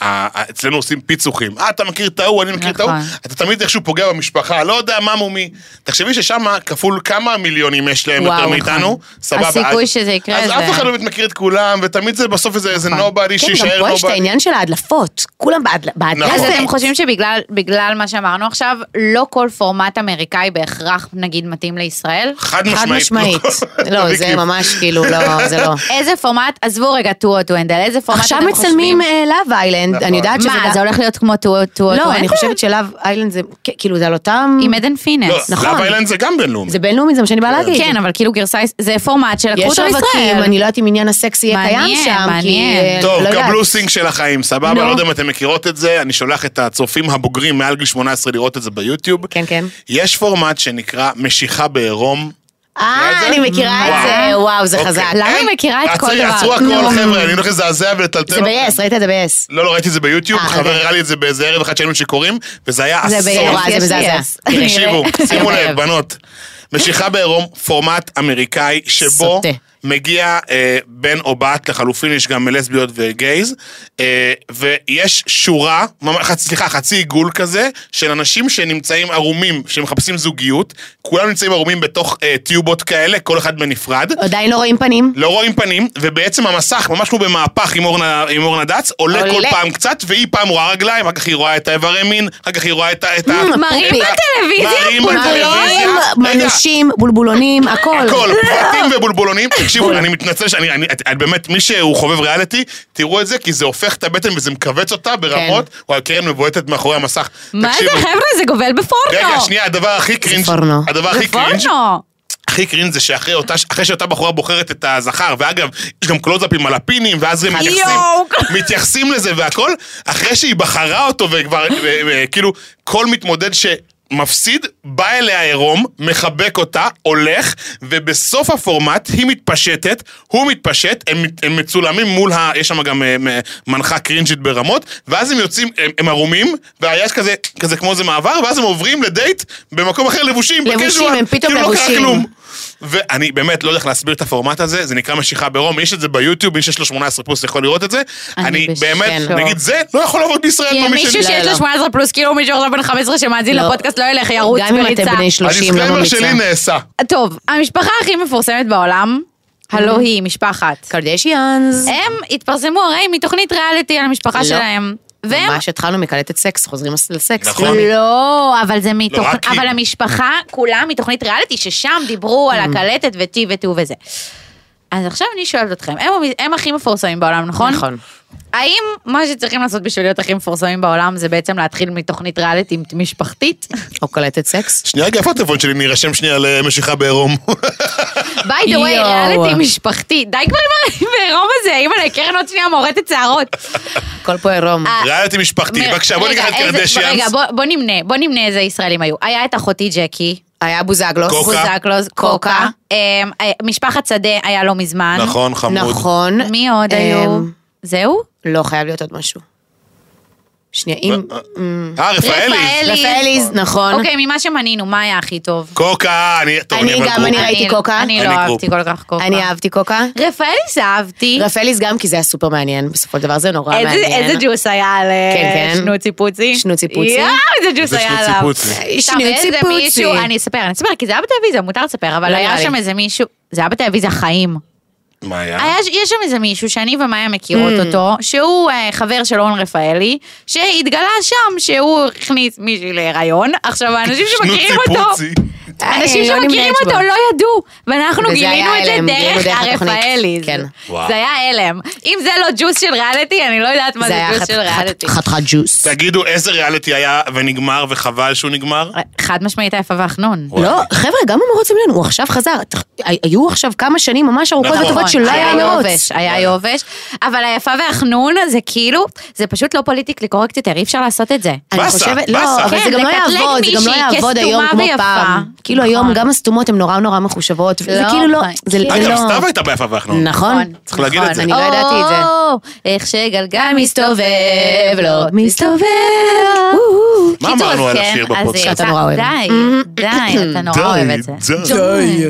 Speaker 2: ה- ה- אצלנו עושים פיצוחים. אה, אתה מכיר את ההוא, אני מכיר את ההוא.
Speaker 3: נכון.
Speaker 2: אתה תמיד איכשהו פוגע במשפחה, לא יודע מה מומי. תחשבי ששם כפול כמה מיליונים יש להם
Speaker 3: וואו,
Speaker 2: יותר
Speaker 3: נכון.
Speaker 2: מאיתנו. סבבה.
Speaker 3: הסיכוי
Speaker 2: אז-
Speaker 3: שזה יקרה
Speaker 2: אז
Speaker 3: זה-
Speaker 2: אף אחד לא באמת מכיר את כולם, ותמיד זה בסוף איזה איזה נובדי
Speaker 4: כן, גם
Speaker 2: שיישאר
Speaker 4: פה יש את
Speaker 2: נובדי.
Speaker 4: העניין של ההדלפות, כולם בהדל- בהדלפות.
Speaker 3: אז
Speaker 2: נכון.
Speaker 3: אתם חושבים שבגלל בגלל מה שאמרנו עכשיו, לא כל פורמט אמריקאי בהכרח נגיד מתאים לישראל?
Speaker 2: חד
Speaker 4: חד משמעית.
Speaker 2: משמעית.
Speaker 4: לא, זה ממש כאילו, לא, זה לא.
Speaker 3: איזה פורמט, עזבו רגע טו או טו אנדל, איזה פורמט אתם
Speaker 4: עכשיו
Speaker 3: חושבים?
Speaker 4: מצלמים לאב איילנד,
Speaker 2: נכון.
Speaker 4: אני יודעת שזה...
Speaker 3: מה,
Speaker 4: גם-
Speaker 3: זה הולך להיות כמו טו או טו אנדל?
Speaker 4: לא, אני חושבת שלאב איילנד זה, כ- כאילו, זה על אותם...
Speaker 3: עם עדן פינס.
Speaker 4: נכון.
Speaker 2: נכון. לאב איילנד זה גם בינלאומי.
Speaker 4: זה בינלאומי, זה מה שאני באה להגיד.
Speaker 3: כן, אבל כאילו גרסה, זה פורמט שלקחו
Speaker 4: יש
Speaker 3: אותו לישראל.
Speaker 4: רווקים, אני לא יודעת אם עניין הסקס יהיה
Speaker 3: מעניין,
Speaker 4: קיים שם, כי...
Speaker 3: מעניין.
Speaker 4: אה,
Speaker 2: טוב,
Speaker 4: לא יודעת.
Speaker 2: קבלו סינק של החיים, סבבה?
Speaker 3: נו.
Speaker 2: לא יודע אם אתם מכירות את זה, אני שולח את הצופים הבוגרים מעל גיל 18 לראות את זה ביוטיוב.
Speaker 4: כן, כן.
Speaker 2: יש פורמט שנקרא משיכה בעירום.
Speaker 4: אה, אני מכירה את
Speaker 2: וואו.
Speaker 4: זה, וואו, זה
Speaker 2: אוקיי.
Speaker 4: חזק.
Speaker 3: למה
Speaker 2: אין,
Speaker 3: היא מכירה את
Speaker 2: עצרי,
Speaker 3: כל דבר?
Speaker 2: עצרו
Speaker 3: נו.
Speaker 4: לא.
Speaker 2: הכל, לא- חבר'ה, אני הולך לזעזע ולטלטל.
Speaker 4: זה
Speaker 2: אותך.
Speaker 4: ב-yes, ראית את זה ב-yes.
Speaker 2: לא, לא, ראיתי את זה ביוטיוב,
Speaker 4: אה,
Speaker 2: חבר
Speaker 4: אוקיי.
Speaker 2: הראה לי את זה באיזה ערב אחד שהיינו שיכורים, וזה היה
Speaker 3: זה
Speaker 2: אסון.
Speaker 3: ב-yes,
Speaker 4: וואי, זה
Speaker 3: יש לי
Speaker 4: מזעזע.
Speaker 3: yes.
Speaker 2: תקשיבו, שימו
Speaker 4: אני
Speaker 2: לב,
Speaker 4: אוהב.
Speaker 2: בנות. משיכה בעירום, פורמט אמריקאי שבו
Speaker 4: סוטה.
Speaker 2: מגיע אה, בן או בת, לחלופין יש גם לסביות וגייז, אה, ויש שורה, ממש- חצ- סליחה, חצי עיגול כזה, של אנשים שנמצאים ערומים, שמחפשים זוגיות, כולם נמצאים ערומים בתוך אה, טיובות כאלה, כל אחד בנפרד.
Speaker 4: עדיין לא רואים פנים.
Speaker 2: לא רואים פנים, ובעצם המסך, ממש כמו במהפך עם אורנה, עם אורנה דץ, עולה
Speaker 4: עולה.
Speaker 2: כל פעם קצת, והיא פעם רואה רגליים, אחר כך היא רואה את האיברי מין, אחר כך היא רואה את ה... את ה-
Speaker 4: אה,
Speaker 3: מראים
Speaker 2: את ה-
Speaker 3: בטלוויזיה
Speaker 2: מראים
Speaker 3: בולבולים,
Speaker 2: בטלוויזיה. רגע,
Speaker 4: מנושים, בולבולונים, הכל.
Speaker 2: הכל, פרטים ובולבולונים. תקשיבו, אני מתנצל שאני, אני, את- את באמת, מי שהוא חובב ריאליטי, תראו את זה, כי זה הופך את הבטן וזה מכווץ אותה ברמות, וואי, קרן מבועטת מאחורי המסך.
Speaker 3: כן. מה זה,
Speaker 2: תקשיבו,
Speaker 3: חבר'ה, זה גובל בפורנו.
Speaker 2: רגע, שנייה, הדבר הכי קרינג',
Speaker 4: פורנו.
Speaker 2: הדבר
Speaker 3: זה
Speaker 2: הכי קרינג',
Speaker 3: פורנו.
Speaker 2: הכי קרינג' זה שאחרי אותה, אחרי שאותה בחורה בוחרת את הזכר, ואגב, יש גם קלוזאפים על הפינים, ואז הם מתייחסים,
Speaker 3: יואו.
Speaker 2: מתייחסים לזה והכל, אחרי שהיא בחרה אותו וכבר, ו- ו- כאילו, כל מתמודד שמפסיד, בא אליה עירום, מחבק אותה, הולך, ובסוף הפורמט היא מתפשטת, הוא מתפשט, הם, מת- הם מצולמים מול ה... יש שם גם אה, מ- מנחה קרינג'ית ברמות, ואז הם יוצאים, הם, הם ערומים, והיה כזה, כזה כמו איזה מעבר, ואז הם עוברים לדייט במקום אחר לבושים,
Speaker 4: לבושים,
Speaker 2: בקזואל,
Speaker 4: הם פתאום
Speaker 2: כאילו לא קרה
Speaker 4: לבושים.
Speaker 2: כלום. ואני באמת לא הולך להסביר את הפורמט הזה, זה נקרא משיכה ברום, יש את זה ביוטיוב, מי שיש לו 18 פלוס יכול לראות את זה.
Speaker 3: אני
Speaker 2: אני
Speaker 3: בשוק.
Speaker 2: באמת, נגיד זה, לא יכול לעבוד בישראל.
Speaker 3: כי
Speaker 2: במי
Speaker 3: מישהו
Speaker 2: שלי.
Speaker 3: שיש
Speaker 4: לא,
Speaker 3: לו
Speaker 4: לא.
Speaker 3: 18 פלוס, כאילו מישהו עכשיו בן 15 שמאזין
Speaker 4: לא.
Speaker 3: לפודקאסט לא ילך, ירוץ
Speaker 4: גם אם אתם
Speaker 3: בריצה.
Speaker 4: בני 30, לא
Speaker 2: הדיסקליימר
Speaker 4: ממליצה.
Speaker 2: שלי נעשה.
Speaker 3: טוב, המשפחה הכי מפורסמת בעולם,
Speaker 4: Mm-hmm.
Speaker 3: הלא היא משפחת.
Speaker 4: קרדשיאנס.
Speaker 3: הם התפרסמו הרי מתוכנית ריאליטי על המשפחה
Speaker 4: לא.
Speaker 3: שלהם. והם...
Speaker 4: ממש התחלנו מקלטת סקס, חוזרים לסקס.
Speaker 2: נכון.
Speaker 3: לא, אבל זה מתוך...
Speaker 2: רק היא.
Speaker 3: אבל המשפחה כולה מתוכנית ריאליטי, ששם דיברו על
Speaker 4: Mm-hmm.
Speaker 3: הקלטת וטי וטו וזה. אז עכשיו אני שואלת אתכם, הם, המ- הם הכי מפורסמים בעולם, נכון?
Speaker 4: נכון.
Speaker 3: האם מה שצריכים לעשות בשביל להיות הכי מפורסמים בעולם זה בעצם להתחיל מתוכנית ריאליטי משפחתית?
Speaker 4: או קולטת סקס.
Speaker 2: שנייה, רגע, איפה הטלפון שלי? נירשם שנייה למשיכה בעירום.
Speaker 3: ביי דה ווי,
Speaker 4: יואו.
Speaker 3: ריאליטי משפחתי. די כבר עם העירום הזה, אימא'לה, קרן עוד שנייה מורטת שערות.
Speaker 4: הכל פה עירום.
Speaker 3: אה,
Speaker 2: ריאליטי משפחתי, בבקשה, בוא
Speaker 3: רגע,
Speaker 2: ניקח את
Speaker 3: איזה-
Speaker 2: קרדשיאנס.
Speaker 3: רגע, בוא- בוא נמנה, בוא נמנה איזה ישראלים היו. היה את אחותי ג'קי.
Speaker 4: היה בוזגלוס.
Speaker 2: קוקה.
Speaker 3: בוזגלוס, קוקה.
Speaker 4: קוקה.
Speaker 3: אמ, אה, משפחת שדה היה לא מזמן.
Speaker 2: נכון, חמוד.
Speaker 4: נכון.
Speaker 3: מי עוד
Speaker 4: אמ,
Speaker 3: היו? זהו?
Speaker 4: לא, חייב להיות עוד משהו. שנייה, אם...
Speaker 2: אה, רפאלי.
Speaker 3: Mm. רפאלי.
Speaker 4: רפאליז, נכון.
Speaker 3: אוקיי, ממה שמנינו, מה היה הכי טוב?
Speaker 2: קוקה, אני... טוב,
Speaker 4: אני
Speaker 2: אבל
Speaker 4: גם,
Speaker 2: קוקה.
Speaker 4: אני ראיתי קוקה.
Speaker 3: אני לא
Speaker 2: אני
Speaker 3: אהבתי
Speaker 2: קוקה.
Speaker 3: כל כך קוקה.
Speaker 4: אני אהבתי קוקה.
Speaker 3: רפאליס אהבתי.
Speaker 4: רפאליס גם, כי זה היה סופר מעניין, בסופו של דבר זה נורא
Speaker 3: איזה-
Speaker 4: מעניין.
Speaker 3: איזה ג'וס היה על אה,
Speaker 4: כן, כן.
Speaker 3: שנוצי פוצי?
Speaker 4: שנוצי פוצי.
Speaker 3: יואו, איזה ג'וס
Speaker 2: זה
Speaker 3: היה
Speaker 2: שנוצי
Speaker 3: עליו.
Speaker 2: פוצי.
Speaker 3: סתם,
Speaker 4: שנוצי
Speaker 3: איזה
Speaker 4: פוצי.
Speaker 3: מישהו- אני אספר, אני אספר, כי זה היה בטלוויזיה, מותר לספר, אבל
Speaker 4: לא
Speaker 3: היה
Speaker 4: נראה לי.
Speaker 3: שם איזה מישהו, זה היה בטלוויזיה חיים.
Speaker 2: מה היה?
Speaker 4: אה,
Speaker 3: היה, אה, יש שם איזה מישהו שאני ומאיה מכירות
Speaker 4: Mm.
Speaker 3: אותו, שהוא אה, חבר של אורן רפאלי, שהתגלה שם שהוא הכניס מישהי להיריון. עכשיו, האנשים שמכירים
Speaker 2: שנוצי
Speaker 3: אותו,
Speaker 2: פוצי.
Speaker 3: אנשים
Speaker 4: אה,
Speaker 3: שמכירים
Speaker 4: לא נמנית
Speaker 3: אותו
Speaker 4: בו.
Speaker 3: לא ידעו, ואנחנו
Speaker 4: וזה
Speaker 3: גילינו
Speaker 4: היה
Speaker 3: את זה
Speaker 4: הלם, גילינו
Speaker 3: דרך
Speaker 4: דרך התוכנית.
Speaker 3: הרפאליז.
Speaker 4: כן.
Speaker 2: וואו.
Speaker 3: זה היה הלם. אם זה לא ג'וס של ריאליטי, אני לא יודעת מה
Speaker 4: זה
Speaker 3: זה
Speaker 4: היה
Speaker 3: ג'וס
Speaker 4: חת-
Speaker 3: של ריאליטי.
Speaker 4: חת- חתיכת ג'וס.
Speaker 2: תגידו, איזה ריאליטי היה ונגמר וחבל שהוא נגמר?
Speaker 3: אה, חד משמעית היפה והחנון.
Speaker 2: וואי.
Speaker 4: לא, חבר'ה, גם המרוץ המילואים, הוא עכשיו חזר. ת- היו עכשיו כמה שנים ממש ארוכות
Speaker 2: נכון.
Speaker 4: וטובות שלא היה מרוץ.
Speaker 3: יובש, היה יובש, אבל היפה והחנון זה כאילו, זה פשוט לא פוליטיקלי קורקט יותר, אי אפשר לעשות את זה.
Speaker 4: אני
Speaker 2: באסה, באסה.
Speaker 4: חושבת, לא, אבל
Speaker 3: כן,
Speaker 4: זה גם לא
Speaker 3: לקטלג
Speaker 4: יעבוד, זה גם לא
Speaker 3: מישהי
Speaker 4: יעבוד
Speaker 3: כסתומה
Speaker 4: היום כמו
Speaker 3: ויפה.
Speaker 4: פעם. כאילו היום
Speaker 3: נכון.
Speaker 4: גם הסתומות הן נורא נורא מחושבות, זה
Speaker 3: לא,
Speaker 4: כאילו לא,
Speaker 3: נכון.
Speaker 4: זה
Speaker 3: אגב,
Speaker 4: לא...
Speaker 2: אגב, סתיו הייתה ביפה ואנחנו.
Speaker 4: נכון.
Speaker 2: צריך להגיד את זה.
Speaker 4: אני לא ידעתי את זה.
Speaker 3: או, איך שגלגל מסתובב, לא
Speaker 4: מסתובב.
Speaker 2: מה
Speaker 3: קיצור,
Speaker 2: אמרנו
Speaker 3: אז
Speaker 2: על
Speaker 3: כן,
Speaker 2: השיר
Speaker 3: אז
Speaker 2: בפודקאסט?
Speaker 3: יצא-
Speaker 4: שאתה נורא אוהב.
Speaker 3: די, די, אתה נורא אוהב את זה.
Speaker 2: די.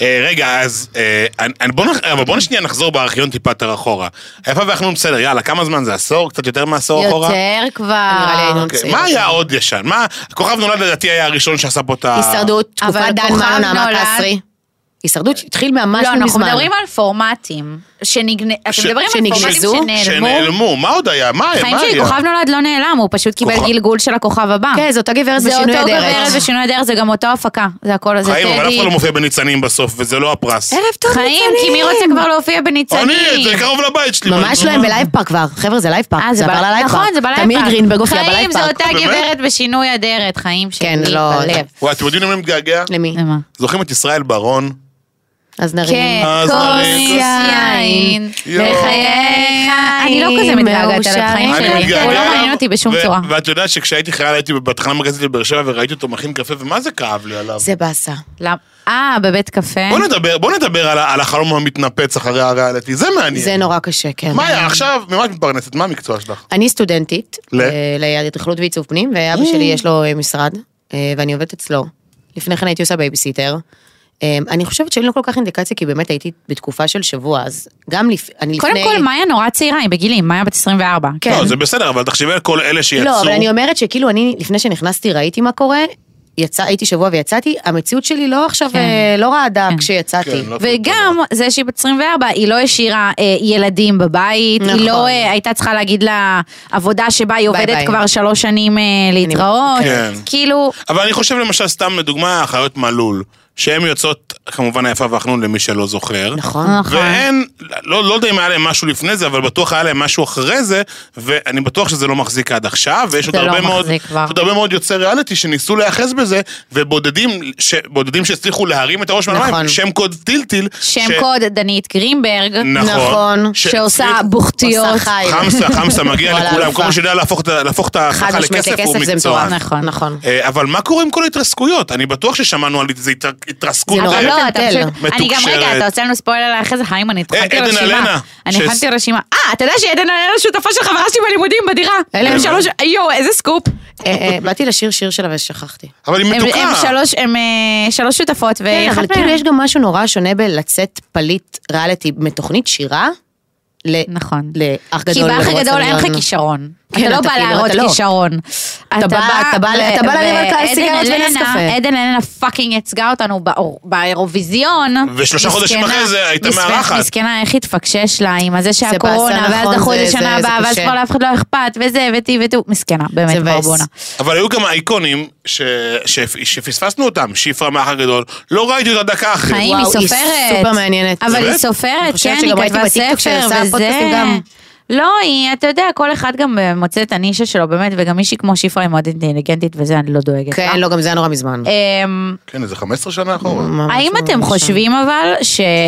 Speaker 2: אה, רגע, אז אה, אני- אני- בוא נח- אבל בואו שנייה נחזור בארכיון טיפה יותר אחורה. היפה ואנחנו בסדר, יאללה, כמה זמן זה? עשור? קצת יותר מעשור אחורה?
Speaker 3: יותר
Speaker 4: נראה לי
Speaker 3: כבר.
Speaker 4: היינו-
Speaker 2: אוקיי, מה היה עוד ישן? מה, כוכב נולד לדעתי היה הראשון שעשה פה את ה...
Speaker 4: הישרדות, תקופת
Speaker 3: אבל
Speaker 4: דן
Speaker 3: כוכב
Speaker 4: מנו, נעמה
Speaker 3: נולד.
Speaker 4: קסרי. הישרדות התחיל ממש
Speaker 3: לא,
Speaker 4: לא
Speaker 3: אנחנו
Speaker 4: מזמן.
Speaker 3: מדברים על פורמטים שנגנ... אתם
Speaker 2: ש-
Speaker 3: מדברים על פורמטים
Speaker 4: שנגנזו?
Speaker 3: שנעלמו.
Speaker 2: שנעלמו, מה עוד היה? מה היה?
Speaker 3: חיים
Speaker 2: מה
Speaker 3: שלי,
Speaker 2: היה?
Speaker 3: כוכב נולד לא נעלם, הוא פשוט קיבל
Speaker 2: כוכב-
Speaker 3: גלגול של הכוכב הבא.
Speaker 4: כן, זה אותה גברת
Speaker 3: זה
Speaker 4: בשינוי
Speaker 3: אותו
Speaker 4: אדרת.
Speaker 3: גברת בשינוי אדרת, זה גם אותה הפקה. זה הכל, זה
Speaker 2: חיים, אבל אף
Speaker 3: טדי.
Speaker 2: אחד לא מופיע בניצנים בסוף, וזה לא הפרס.
Speaker 4: ערב טוב,
Speaker 3: חיים,
Speaker 4: ניצנים.
Speaker 3: כי מי רוצה כבר להופיע בניצנים?
Speaker 2: אני, זה קרוב לבית שלי.
Speaker 4: ממש
Speaker 2: מה-
Speaker 4: לא, הם
Speaker 2: מה-
Speaker 4: בלייב פארק כבר. חבר'ה, זה לייב פארק.
Speaker 3: אה,
Speaker 4: זה עבר ללייב פארק.
Speaker 3: נכון, זה בלייב פארק.
Speaker 4: תמיר גרינברג הופיע
Speaker 3: חיים,
Speaker 4: בלייב
Speaker 3: זה
Speaker 4: פארק.
Speaker 3: אותה
Speaker 2: באמת?
Speaker 3: גברת בשינוי אדרת, חיים שלי.
Speaker 4: כן, לא-
Speaker 3: בלב.
Speaker 2: וואי, אתם יודעים למי אני מתגעגע?
Speaker 4: למי?
Speaker 3: למה?
Speaker 2: זוכרים את ישראל בר-און?
Speaker 4: אז נרים.
Speaker 3: כן,
Speaker 2: אז
Speaker 3: כוס
Speaker 2: נרים.
Speaker 3: יין,
Speaker 2: יואו.
Speaker 3: בחייך. אני לא כזה מתגעגעת אליו, חיים
Speaker 4: מאושרים.
Speaker 2: אני
Speaker 3: שלי.
Speaker 2: מתגעגע
Speaker 3: הוא לא
Speaker 2: אליו,
Speaker 3: מעניין אותי בשום
Speaker 2: ו-
Speaker 3: צורה.
Speaker 2: ואת יודעת שכשהייתי חייל הייתי בתחנה המרכזית בבאר שבע וראיתי אותו מכין קפה, ומה זה כאב לי עליו?
Speaker 4: זה באסה.
Speaker 3: למה? אה, בבית קפה.
Speaker 2: בוא נדבר, בוא נדבר על, ה- על החלום המתנפץ אחרי הריאליטי, זה מעניין.
Speaker 4: זה נורא קשה, כן.
Speaker 2: מה היה עכשיו, ממה את מתפרנסת? מה המקצוע שלך?
Speaker 4: אני סטודנטית.
Speaker 2: ל?
Speaker 4: אה, לאדריכלות ועיצוב פנים, ואבא שלי יש לו אה, משרד, אה, ואני עובדת אצלו. לפני כן הייתי עושה בייביסיטר. אה, אני חושבת שאין לו כל כך אינדיקציה, כי באמת הייתי בתקופה של שבוע, אז גם לפ... אני לפני...
Speaker 3: קודם כל, מאיה נורא צעירה, היא בגילי, מאיה בת 24.
Speaker 4: כן.
Speaker 2: לא, זה בסדר, אבל תחשבי על כל אלה שיצאו.
Speaker 4: לא, אבל אני אומרת שכאילו אני, לפני שנכנסתי ראיתי מה קורה, יצא, הייתי שבוע ויצאתי, המציאות שלי לא עכשיו,
Speaker 3: כן.
Speaker 4: אה, לא רעדה
Speaker 3: כן.
Speaker 4: כשיצאתי.
Speaker 2: כן, לא-
Speaker 3: וגם זה שהיא בת 24, היא לא השאירה אה, ילדים בבית,
Speaker 4: נכון.
Speaker 3: היא לא אה, הייתה צריכה להגיד לה עבודה שבה היא
Speaker 4: ביי,
Speaker 3: עובדת
Speaker 4: ביי.
Speaker 3: כבר שלוש שנים אה, להתראות.
Speaker 2: כן.
Speaker 3: כאילו,
Speaker 2: אבל אני חושב למשל, סתם לדוגמה, אחיות מלול, שהן יוצאות, כמובן היפה והחנון למי שלא זוכר.
Speaker 4: נכון.
Speaker 3: נכון.
Speaker 2: והן, לא, לא יודע אם היה להם משהו לפני זה, אבל בטוח היה להם משהו אחרי זה, ואני בטוח שזה לא מחזיק עד עכשיו, ויש עוד
Speaker 3: זה לא
Speaker 2: הרבה, מאוד,
Speaker 3: מחזיק כבר.
Speaker 2: עוד הרבה מאוד יוצאי ריאליטי שניסו להיאחז בזה, ובודדים ש, בודדים שהצליחו להרים את הראש מהמים,
Speaker 4: נכון.
Speaker 2: שם קוד טילטיל.
Speaker 3: שם קוד דנית גרינברג,
Speaker 2: נכון.
Speaker 4: נכון,
Speaker 2: ש-
Speaker 3: שעושה
Speaker 2: הצליח-
Speaker 3: בוכתיות.
Speaker 4: עושה חי.
Speaker 2: חמסה, חמסה מגיע
Speaker 4: וואלה,
Speaker 2: לכולם,
Speaker 4: אלופה.
Speaker 2: כל מי שיודע להפוך את ה- להפוך את
Speaker 4: חד
Speaker 2: ההצלחה
Speaker 4: משמעית
Speaker 2: לכסף הוא
Speaker 4: לכסף זה
Speaker 2: מקצוען.
Speaker 4: מטורף.
Speaker 3: נכון.
Speaker 4: נכון.
Speaker 2: אה, אבל מה קורה עם כל ההתרסקויות? אני בטוח ששמענו על איזה התר- התרסקות.
Speaker 4: זה נורא
Speaker 3: אבל
Speaker 2: אה,
Speaker 3: לא, אתה
Speaker 4: מטלטל.
Speaker 3: פשוט... אני גם, רגע,
Speaker 2: מתוקשרת. אה,
Speaker 3: אתה עושה לנו ספוילר אחרי זה, חיים, אני הכנתי
Speaker 2: עדן אלנה,
Speaker 3: רשימה. אני
Speaker 2: ש-
Speaker 3: הכנתי רשימה. אה, אתה יודע שעדן אלנה שותפה של חברה שלי בלימודים בדירה.
Speaker 4: אלה
Speaker 3: הם
Speaker 4: הם.
Speaker 3: שלוש... יואו, איזה סקופ.
Speaker 4: אה, אה, באתי לשיר שיר שלה ושכחתי.
Speaker 2: אבל היא
Speaker 3: הם
Speaker 2: מתוקה.
Speaker 3: הם שלוש, הם אה, שלוש שותפות,
Speaker 4: כן, אבל
Speaker 3: ואחת
Speaker 4: כאילו
Speaker 3: מהן-
Speaker 4: יש גם משהו נורא שונה בלצאת פליט ריאליטי מתוכנית שירה. ל-
Speaker 3: נכון.
Speaker 4: לאח גדול.
Speaker 3: כי באח
Speaker 4: למרוץ
Speaker 3: הגדול אין לך
Speaker 4: המיליון.
Speaker 3: כישרון.
Speaker 4: כן,
Speaker 3: אתה לא
Speaker 4: אתה
Speaker 3: בא
Speaker 4: כאילו,
Speaker 3: להראות
Speaker 4: אתה לא.
Speaker 3: כישרון.
Speaker 4: בא- אתה בא-
Speaker 3: ל-
Speaker 4: אתה בא לריב על
Speaker 3: ו-
Speaker 4: קהל
Speaker 3: עדן
Speaker 4: סיגריות
Speaker 3: אלנה-
Speaker 4: ונס-קפה.
Speaker 3: עדן אלנה פאקינג ייצגה אותנו באור- באירוויזיון.
Speaker 2: ושלושה חודשים
Speaker 3: מסכנה-
Speaker 2: אחרי זה הייתה
Speaker 3: מסכנה-
Speaker 2: מארחת.
Speaker 3: מסכנה, איך התפקשש לה עם הזה שהקורונה,
Speaker 4: באסה,
Speaker 3: ואז
Speaker 4: נכון,
Speaker 3: דחו את
Speaker 4: זה-
Speaker 3: זה שנה
Speaker 4: זה- זה
Speaker 3: הבאה, ואז
Speaker 4: קשה.
Speaker 3: כבר לאף אחד לא אכפת, וזה, ותי ותו. מסכנה, באמת,
Speaker 4: זה מבאס.
Speaker 3: ברבונה.
Speaker 2: אבל היו גם אייקונים ש- ש- שפספסנו אותם, שפרה מהאח הגדול, לא ראיתי אותה דקה אחרי.
Speaker 3: חיים, היא
Speaker 4: וואו, היא
Speaker 3: סופרת.
Speaker 4: סופר מעניינת.
Speaker 3: אבל היא
Speaker 2: באמת?
Speaker 3: סופרת,
Speaker 4: אני חושבת
Speaker 3: כן, היא
Speaker 4: שגם ראיתי
Speaker 3: כתבה
Speaker 4: בטיקטוק
Speaker 3: ספר,
Speaker 4: שעושה
Speaker 3: וזה...
Speaker 4: פודקאסטים גם.
Speaker 3: לא, היא, אתה יודע, כל אחד גם אה, מוצא את הנישה שלו, באמת, וגם מישהי כמו שיפרה היא מאוד אינטליגנטית, וזה אני לא דואגת.
Speaker 4: כן,
Speaker 3: לה.
Speaker 4: לא, גם זה היה נורא מזמן.
Speaker 3: אמ,
Speaker 2: כן, איזה 15 שנה אחורה.
Speaker 4: ממש לא.
Speaker 3: האם
Speaker 4: ממש
Speaker 3: אתם
Speaker 4: מזמן.
Speaker 3: חושבים אבל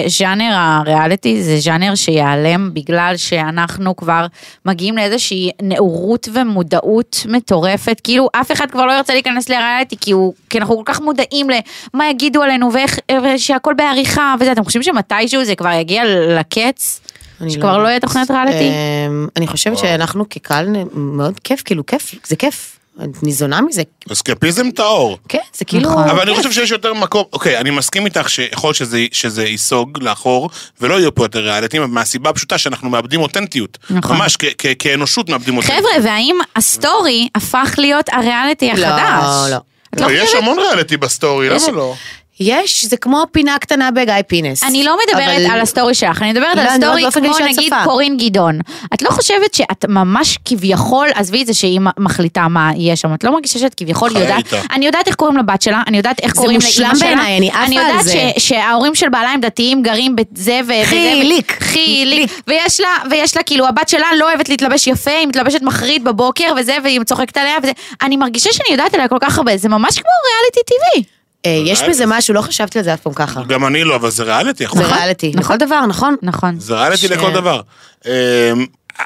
Speaker 3: שז'אנר הריאליטי זה ז'אנר שיעלם בגלל שאנחנו כבר מגיעים לאיזושהי נאורות ומודעות מטורפת? כאילו אף אחד כבר לא ירצה להיכנס לריאליטי כי, הוא, כי אנחנו כל כך מודעים למה יגידו עלינו ואיך, ושהכל בעריכה וזה, אתם חושבים שמתישהו זה כבר יגיע לקץ?
Speaker 4: אני
Speaker 3: שכבר לא יהיה תוכנית ריאליטי?
Speaker 4: אמ, אני חושבת שאנחנו כקהל נ- מאוד כיף, כאילו כיף, זה כיף. אני ניזונה מזה,
Speaker 2: Mm. אסקפיזם טהור.
Speaker 4: כן, זה כאילו...
Speaker 3: נכון.
Speaker 2: אבל אני
Speaker 4: כיף.
Speaker 2: חושב שיש יותר מקום, אוקיי, אני מסכים איתך שיכול להיות שזה- שזה ייסוג לאחור, ולא יהיו פה יותר ריאליטים, מהסיבה הפשוטה שאנחנו מאבדים אותנטיות.
Speaker 3: נכון.
Speaker 2: ממש כ- כ- כאנושות מאבדים אותנטיות.
Speaker 3: חבר'ה, והאם הסטורי הפך להיות הריאליטי
Speaker 4: לא,
Speaker 3: החדש?
Speaker 4: לא.
Speaker 3: את לא
Speaker 2: לא, יש
Speaker 3: חושבת?
Speaker 2: המון ריאליטי בסטורי,
Speaker 3: יש-
Speaker 2: למה לא?
Speaker 4: יש, זה כמו פינה קטנה בגיא פינס.
Speaker 3: אני לא מדברת
Speaker 4: אבל-
Speaker 3: על הסטורי שלך, אני מדברת
Speaker 4: לא,
Speaker 3: על
Speaker 4: אני
Speaker 3: הסטורי
Speaker 4: מדברת באופן
Speaker 3: כמו
Speaker 4: כללי של
Speaker 3: נגיד
Speaker 4: הצפה.
Speaker 3: קורין גדעון. את לא חושבת שאת ממש כביכול, עזבי את זה שהיא מחליטה מה יהיה שם, את לא מרגישה שאת כביכול
Speaker 2: חיה
Speaker 3: יודעת,
Speaker 2: איתה.
Speaker 3: אני יודעת איך קוראים לבת שלה, אני יודעת איך
Speaker 4: זה
Speaker 3: קוראים לאימא
Speaker 4: מושלם
Speaker 3: שלה.
Speaker 4: בעיניי, אני עפה על
Speaker 3: יודעת
Speaker 4: זה.
Speaker 3: ש- שההורים של בעלה הם דתיים גרים בזה ו- וזה. ו-
Speaker 4: חיליק.
Speaker 3: חיליק. ויש לה, ויש לה, כאילו, הבת שלה לא אוהבת להתלבש יפה, היא מתלבשת מחריד בבוקר וזה, והיא צוחקת עליה וזה. אני מרגישה שאני יודעת עליה כל כך הרבה, זה ממש כמו ריאליטי טיווי.
Speaker 4: אה, יש
Speaker 2: ריאליטי.
Speaker 4: בזה משהו, לא חשבתי על זה אף פעם ככה.
Speaker 2: גם אני לא, אבל זה ריאליטי. אנחנו
Speaker 4: זה ריאליטי,
Speaker 3: נכון.
Speaker 4: לכל דבר, נכון?
Speaker 3: נכון.
Speaker 2: זה ריאליטי
Speaker 4: ש-
Speaker 2: לכל דבר. אמ,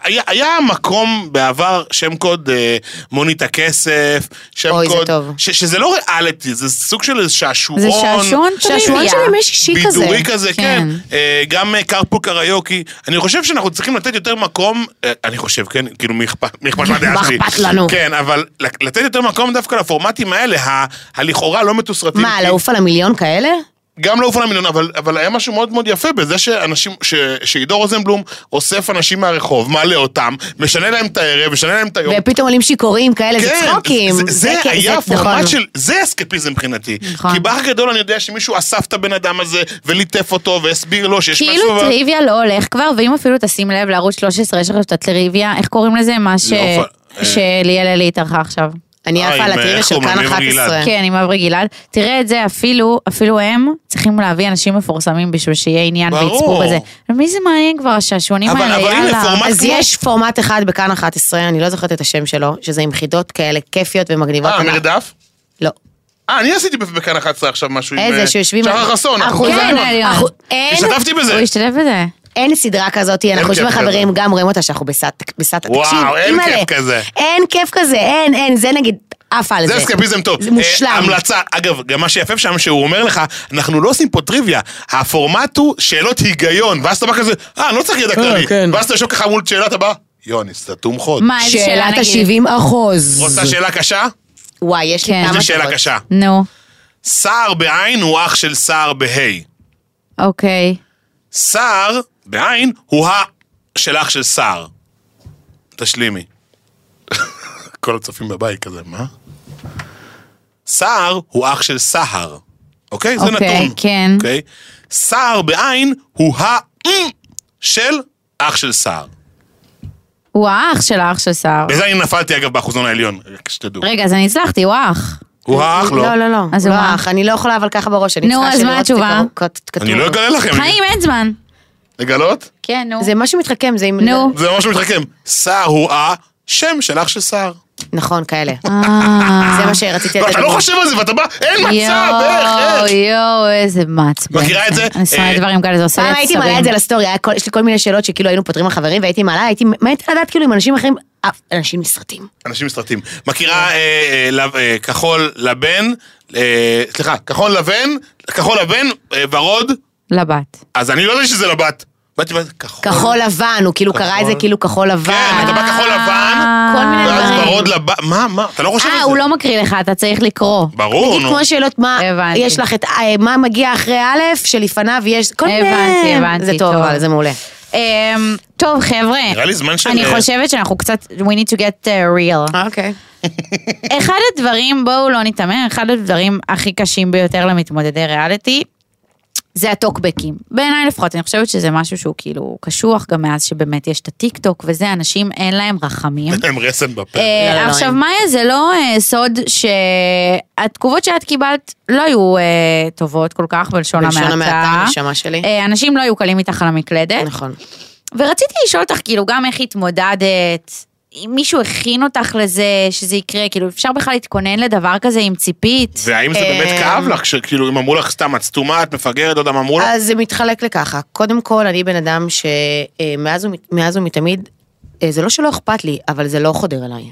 Speaker 2: היה, היה מקום בעבר, שם קוד אה, מונית הכסף, שם
Speaker 4: אוי, זה
Speaker 2: קוד,
Speaker 4: טוב.
Speaker 2: ש, שזה לא ריאליטי, זה סוג של שעשועון,
Speaker 3: זה שעשועון
Speaker 4: שהשעון
Speaker 3: טריוויה.
Speaker 4: שלי יש אישי כזה.
Speaker 2: בידורי כזה, כן.
Speaker 3: כן.
Speaker 2: אה, גם אה, קרפו קריוקי. אני חושב שאנחנו צריכים לתת יותר מקום, אה, אני חושב, כן, כאילו, מי אכפת מי אכפת מהדעה
Speaker 4: מה
Speaker 2: שלי.
Speaker 4: אכפת לנו?
Speaker 2: כן, אבל לת- לתת יותר מקום דווקא לפורמטים האלה, ה- הלכאורה לא מתוסרטים.
Speaker 4: מה,
Speaker 2: כי-
Speaker 4: לעוף על המיליון כאלה?
Speaker 2: גם לעוף על המיליון, אבל, אבל היה משהו מאוד מאוד יפה בזה שאנשים, ש, שעידו רוזנבלום אוסף אנשים מהרחוב, מעלה אותם, משנה להם את הערב, משנה להם את היום. כן,
Speaker 4: ופתאום עולים שיכורים כאלה, זה צחוקים.
Speaker 2: זה, זה, זה
Speaker 4: כן,
Speaker 2: היה
Speaker 4: זה- נכון.
Speaker 2: הפורמט של, זה אסקפיזם מבחינתי.
Speaker 3: נכון.
Speaker 2: כי באח גדול אני יודע שמישהו אסף את הבן אדם הזה וליטף אותו והסביר לו שיש משהו...
Speaker 3: כאילו
Speaker 2: אבל-
Speaker 3: טריוויה לא הולך כבר, ואם אפילו תשים לב לערוץ 13 יש עכשיו את הטריוויה, איך קוראים לזה? מה ש...
Speaker 2: לא, אה.
Speaker 3: שליאל אלי התארחה עכשיו.
Speaker 4: אני
Speaker 2: אה,
Speaker 4: עפה
Speaker 2: עם,
Speaker 4: על
Speaker 2: אה,
Speaker 4: הטריוויה
Speaker 2: איך
Speaker 4: של
Speaker 2: קוראים לו?
Speaker 4: כאן
Speaker 2: מירי
Speaker 4: 11.
Speaker 2: גלעד.
Speaker 3: כן, עם אברי גלעד. תראה את זה, אפילו, אפילו הם צריכים להביא אנשים מפורסמים בשביל שיהיה עניין
Speaker 2: ברור.
Speaker 3: ויצפו בזה. ומי זה מעניין כבר, השעשועונים
Speaker 2: אבל-
Speaker 3: האלה,
Speaker 2: אבל הנה,
Speaker 3: יאללה.
Speaker 2: פורמט-
Speaker 4: אז
Speaker 2: כמו-
Speaker 4: יש פורמט אחד בכאן 11, אני לא זוכרת את השם שלו, שזה עם חידות כאלה כיפיות ומגניבות.
Speaker 2: אה,
Speaker 4: אני-
Speaker 2: מרדף?
Speaker 4: לא.
Speaker 2: אה, אני עשיתי בכאן 11 עכשיו משהו עם...
Speaker 4: איזה
Speaker 2: אה,
Speaker 4: שיושבים...
Speaker 2: שחר חסון. אנחנו-
Speaker 3: כן,
Speaker 4: אחוזנו.
Speaker 3: עליון.
Speaker 4: אחו- אין-
Speaker 2: השתתפתי
Speaker 3: הוא
Speaker 2: בזה.
Speaker 3: השתתף בזה.
Speaker 4: אין סדרה כזאת, אנחנו יושבים
Speaker 2: כיף
Speaker 4: חברים,
Speaker 2: כזה.
Speaker 4: גם רואים אותה שאנחנו בסט, בסט,
Speaker 2: וואו,
Speaker 4: תקשיב,
Speaker 2: אין
Speaker 4: אימא'לה.
Speaker 2: כיף כזה.
Speaker 4: אין כיף כזה, אין, אין, זה נגיד, עפה על זה.
Speaker 2: זה אסקפיזם טוב.
Speaker 4: זה מושלם.
Speaker 2: אה, המלצה, אגב, גם מה שיפה שם, שהוא אומר לך, אנחנו לא עושים פה טריוויה, הפורמט הוא שאלות היגיון, ואז אתה בא כזה, אה, אני לא צריך ידע כללי,
Speaker 4: כן.
Speaker 2: ואז אתה יושב ככה מול שאלת הבאה, יוני, סתום חוד.
Speaker 3: מה, איזה שאלה
Speaker 4: שאלת
Speaker 3: נגיד?
Speaker 4: ה-70 אחוז.
Speaker 2: רוצה שאלה קשה?
Speaker 4: וואי, יש לי
Speaker 3: כן.
Speaker 4: כמה
Speaker 2: זו שאלה
Speaker 4: טובות.
Speaker 2: קשה.
Speaker 3: נו,
Speaker 2: סער בעין הוא אח של סער בה'.
Speaker 3: אוקיי.
Speaker 2: סער בעין הוא ה... של אח של סער. תשלימי. כל הצופים בבית כזה, מה? סער הוא אח של סהר. אוקיי? זה
Speaker 3: אוקיי,
Speaker 2: נתון.
Speaker 3: כן.
Speaker 2: אוקיי? סער בעין הוא ה... של אח של סער.
Speaker 3: הוא האח של האח של סער.
Speaker 2: בזה אני נפלתי אגב באחוזון העליון, רק שתדעו.
Speaker 3: רגע, אז אני הצלחתי, הוא האח.
Speaker 2: הוא האח, לא.
Speaker 4: לא, לא, לא.
Speaker 3: אז
Speaker 4: לא
Speaker 3: הוא מה?
Speaker 4: אח, אני לא יכולה אבל ככה בראש, אני
Speaker 3: נו,
Speaker 4: צריכה
Speaker 3: אז מה
Speaker 4: לראות את זה
Speaker 3: התשובה?
Speaker 4: כבר כת- כתוב.
Speaker 2: אני לא אגלה לכם.
Speaker 3: חיים, אין זמן.
Speaker 2: לגלות?
Speaker 3: כן, נו.
Speaker 4: זה משהו מתחכם, זה עם...
Speaker 3: נו.
Speaker 2: זה ממש מתחכם. סער הוא ה... שם של אח של סער.
Speaker 4: נכון, כאלה.
Speaker 3: אה.
Speaker 4: זה מה שרציתי
Speaker 2: ואתה לא חושב על זה, ואתה בא, אין מצב, איך, איך.
Speaker 3: יואו, יואו, איזה מעצבן.
Speaker 2: מכירה את זה?
Speaker 3: אני שונאת
Speaker 2: אה,
Speaker 3: דברים כאלה, זה עושה לי
Speaker 4: פעם
Speaker 3: עצבים.
Speaker 4: הייתי מעלה את זה לסטורי, היה כל- יש לי כל מיני שאלות שכאילו היינו פותרים לחברים, והייתי מעלה, הייתי מתה לדעת כאילו אם אנשים אחרים, אה, אנשים מסרטים.
Speaker 2: אנשים מסרטים. מכירה אה, אה, לב- אה, כחול לבן, אה, סליחה, כחול לבן, כחול לבן, אה, ורוד,
Speaker 3: לבת.
Speaker 2: אז אני לא יודע שזה לבת. באתי ואמרתי, כחול.
Speaker 4: כחול לבן, הוא כאילו קרא את זה
Speaker 2: כחול.
Speaker 4: כאילו כחול
Speaker 2: כן,
Speaker 4: לבן.
Speaker 2: אתה בא כחול לבן,
Speaker 3: אה, כל מיני
Speaker 2: ואז
Speaker 3: דברים.
Speaker 2: ורוד לבן, מה, מה, אתה לא חושב על זה.
Speaker 3: אה, הוא לא מקריא לך, אתה צריך לקרוא.
Speaker 2: ברור,
Speaker 4: נגיד
Speaker 2: נו.
Speaker 4: כמו השאלות, מה
Speaker 3: הבנתי.
Speaker 4: יש לך את, אה, מה מגיע אחרי א', שלפניו יש, כל מיני,
Speaker 3: הבנתי, הבנתי,
Speaker 4: זה טוב,
Speaker 3: טוב.
Speaker 4: אבל זה מעולה.
Speaker 3: אמ, טוב, חבר'ה.
Speaker 2: נראה לי זמן של- אה,
Speaker 3: אני חושבת שאנחנו קצת, we need to get uh, real.
Speaker 4: אוקיי.
Speaker 2: אה.
Speaker 3: אחד הדברים, בואו לא ניתמם, אחד הדברים הכי קשים ביותר למתמודדי ריאליטי, זה הטוקבקים. בעיניי לפחות, אני חושבת שזה משהו שהוא כאילו קשוח, גם מאז שבאמת יש את הטיקטוק וזה, אנשים אין להם רחמים.
Speaker 2: אין להם רסן בפה.
Speaker 3: אה,
Speaker 4: לא, לא,
Speaker 3: עכשיו,
Speaker 4: אין.
Speaker 3: מאיה, זה לא אה, סוד שהתגובות שאת קיבלת לא היו אה, טובות כל כך, בלשון
Speaker 4: בלשון המעטה,
Speaker 3: המעטה.
Speaker 4: נשמה שלי.
Speaker 3: אה, אנשים לא היו קלים איתך על המקלדת.
Speaker 4: נכון.
Speaker 3: ורציתי לשאול אותך, כאילו, גם איך התמודדת, אם מישהו הכין אותך לזה, שזה יקרה, כאילו, אפשר בכלל להתכונן לדבר כזה עם ציפית?
Speaker 2: והאם זה באמת
Speaker 4: אה,
Speaker 2: כאב לך, שכאילו אם אמרו לך סתם את סתומה, את מפגרת, לא יודע מה אמרו לך?
Speaker 4: אז זה מתחלק לככה. קודם כל, אני בן אדם אה, שמאז ומאז ומתמיד, אה, זה לא שלא אכפת לי, אבל זה לא חודר אליי.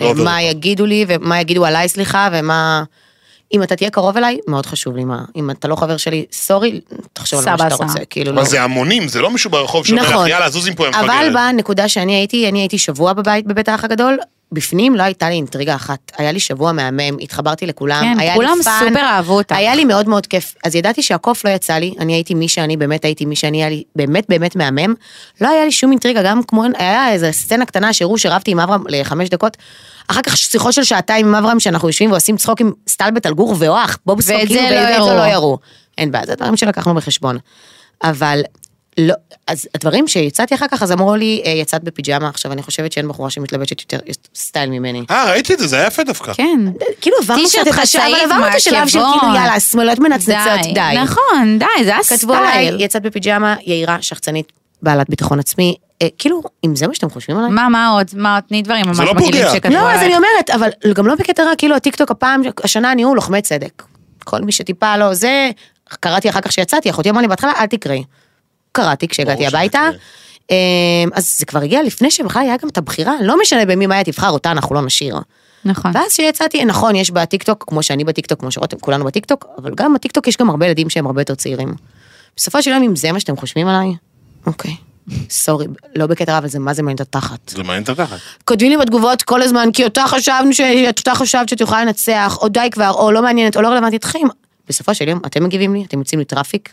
Speaker 2: לא
Speaker 4: אה,
Speaker 2: עובר
Speaker 4: מה
Speaker 2: אותך.
Speaker 4: יגידו לי, ומה יגידו עליי, סליחה, ומה... אם אתה תהיה קרוב אליי, מאוד חשוב לי מה. אם אתה לא חבר שלי, סורי, תחשוב על מה
Speaker 3: סבבה,
Speaker 4: שאתה
Speaker 3: סבבה.
Speaker 4: רוצה. כאילו,
Speaker 2: אבל
Speaker 4: לא.
Speaker 2: זה המונים, זה לא מישהו ברחוב שאומר לך,
Speaker 4: נכון.
Speaker 2: יאללה, זוז מפה, הם
Speaker 4: אבל
Speaker 2: מפגרת.
Speaker 4: בנקודה שאני הייתי, אני הייתי שבוע בבית, בבית האח הגדול, בפנים לא הייתה לי אינטריגה אחת. היה לי שבוע מהמם, התחברתי לכולם,
Speaker 3: כן,
Speaker 4: היה לי
Speaker 3: כולם
Speaker 4: פאן.
Speaker 3: סופר אהבו אותך.
Speaker 4: היה לי מאוד מאוד כיף. אז ידעתי שהקוף לא יצא לי, אני הייתי מי שאני, באמת הייתי מי שאני, היה לי באמת באמת מהמם. לא היה לי שום אינטריגה, גם כמו, היה איזו סצנה קטנה שהראו שרבתי עם אברהם לחמש דקות. אחר כך שיחות של שעתיים עם אברהם, שאנחנו יושבים ועושים צחוקים, סטלבט על גור ואוח, בוב
Speaker 3: ואת
Speaker 4: סוקים,
Speaker 3: זה לא
Speaker 4: ואת
Speaker 3: יראו.
Speaker 4: זה לא יראו. אין בעיה, זה דברים שלקחנו בחשבון. אבל לא, אז הדברים שיצאתי אחר כך, אז אמרו לי, "אה, יצאת בפיג'מה, עכשיו אני חושבת שאין בחורה שמתלבשת יותר סטייל ממני.
Speaker 2: אה, ראיתי את זה, זה היה יפה דווקא.
Speaker 3: כן.
Speaker 4: כאילו עברנו
Speaker 3: טישרט
Speaker 4: קצת את השלב,
Speaker 3: חשאי,
Speaker 4: אבל עברנו את השלב של
Speaker 3: מעקבון.
Speaker 4: כאילו יאללה, שמאליות מנצנצות, די.
Speaker 3: נכון, די, זה הסטייל.
Speaker 4: כתבו עליי, יצאת בפיג'מה, יהירה, שחצנית, בעלת ביטחון עצמי. אה, כאילו, אם זה מה שאתם חושבים עליי?
Speaker 3: מה, מה עוד? מה עוד? תני דברים ממש
Speaker 2: זה לא
Speaker 3: מגעילים
Speaker 2: פוגע.
Speaker 3: שכתבו
Speaker 4: לא, אז
Speaker 3: עליי.
Speaker 4: אני אומרת, אבל גם לא בקטע רע, כאילו הטיקטוק הפעם, השנה אני הוא לוחמי צדק. כל מי שטיפה לא זה, קראתי אחר כך שיצאתי, אחותי אמרה לי בהתחלה, אל תקראי. קראתי כשהגעתי
Speaker 2: ברור
Speaker 4: הביתה.
Speaker 2: שתקראי.
Speaker 4: אמ, אז זה כבר הגיע לפני שבכלל היה גם את הבחירה, לא משנה במי מאיה תבחר אותה, אנחנו לא נשאיר.
Speaker 3: נכון.
Speaker 4: ואז כשיצאתי, נכון, יש בטיקטוק, כמו שאני בטיקטוק, כמו שרותם, כולנו בטיקטוק, אבל גם בטיקטוק יש גם הרבה ילדים שהם הרבה יותר צעירים. בסופו של יום, אם זה מה שאתם חושבים עליי, אוקיי. סורי, לא בקטע רע, אבל זה מה זה מעניין את התחת.
Speaker 2: זה מעניין את התחת.
Speaker 4: כותבים לי בתגובות כל הזמן, כי אותה חשבנו ש... אותה חשבת שאת יכולה לנצח, או די כבר, או לא מעניינת, או לא רלוונטית חיים. בסופו של יום, אתם מגיבים לי, אתם יוצאים לי טראפיק,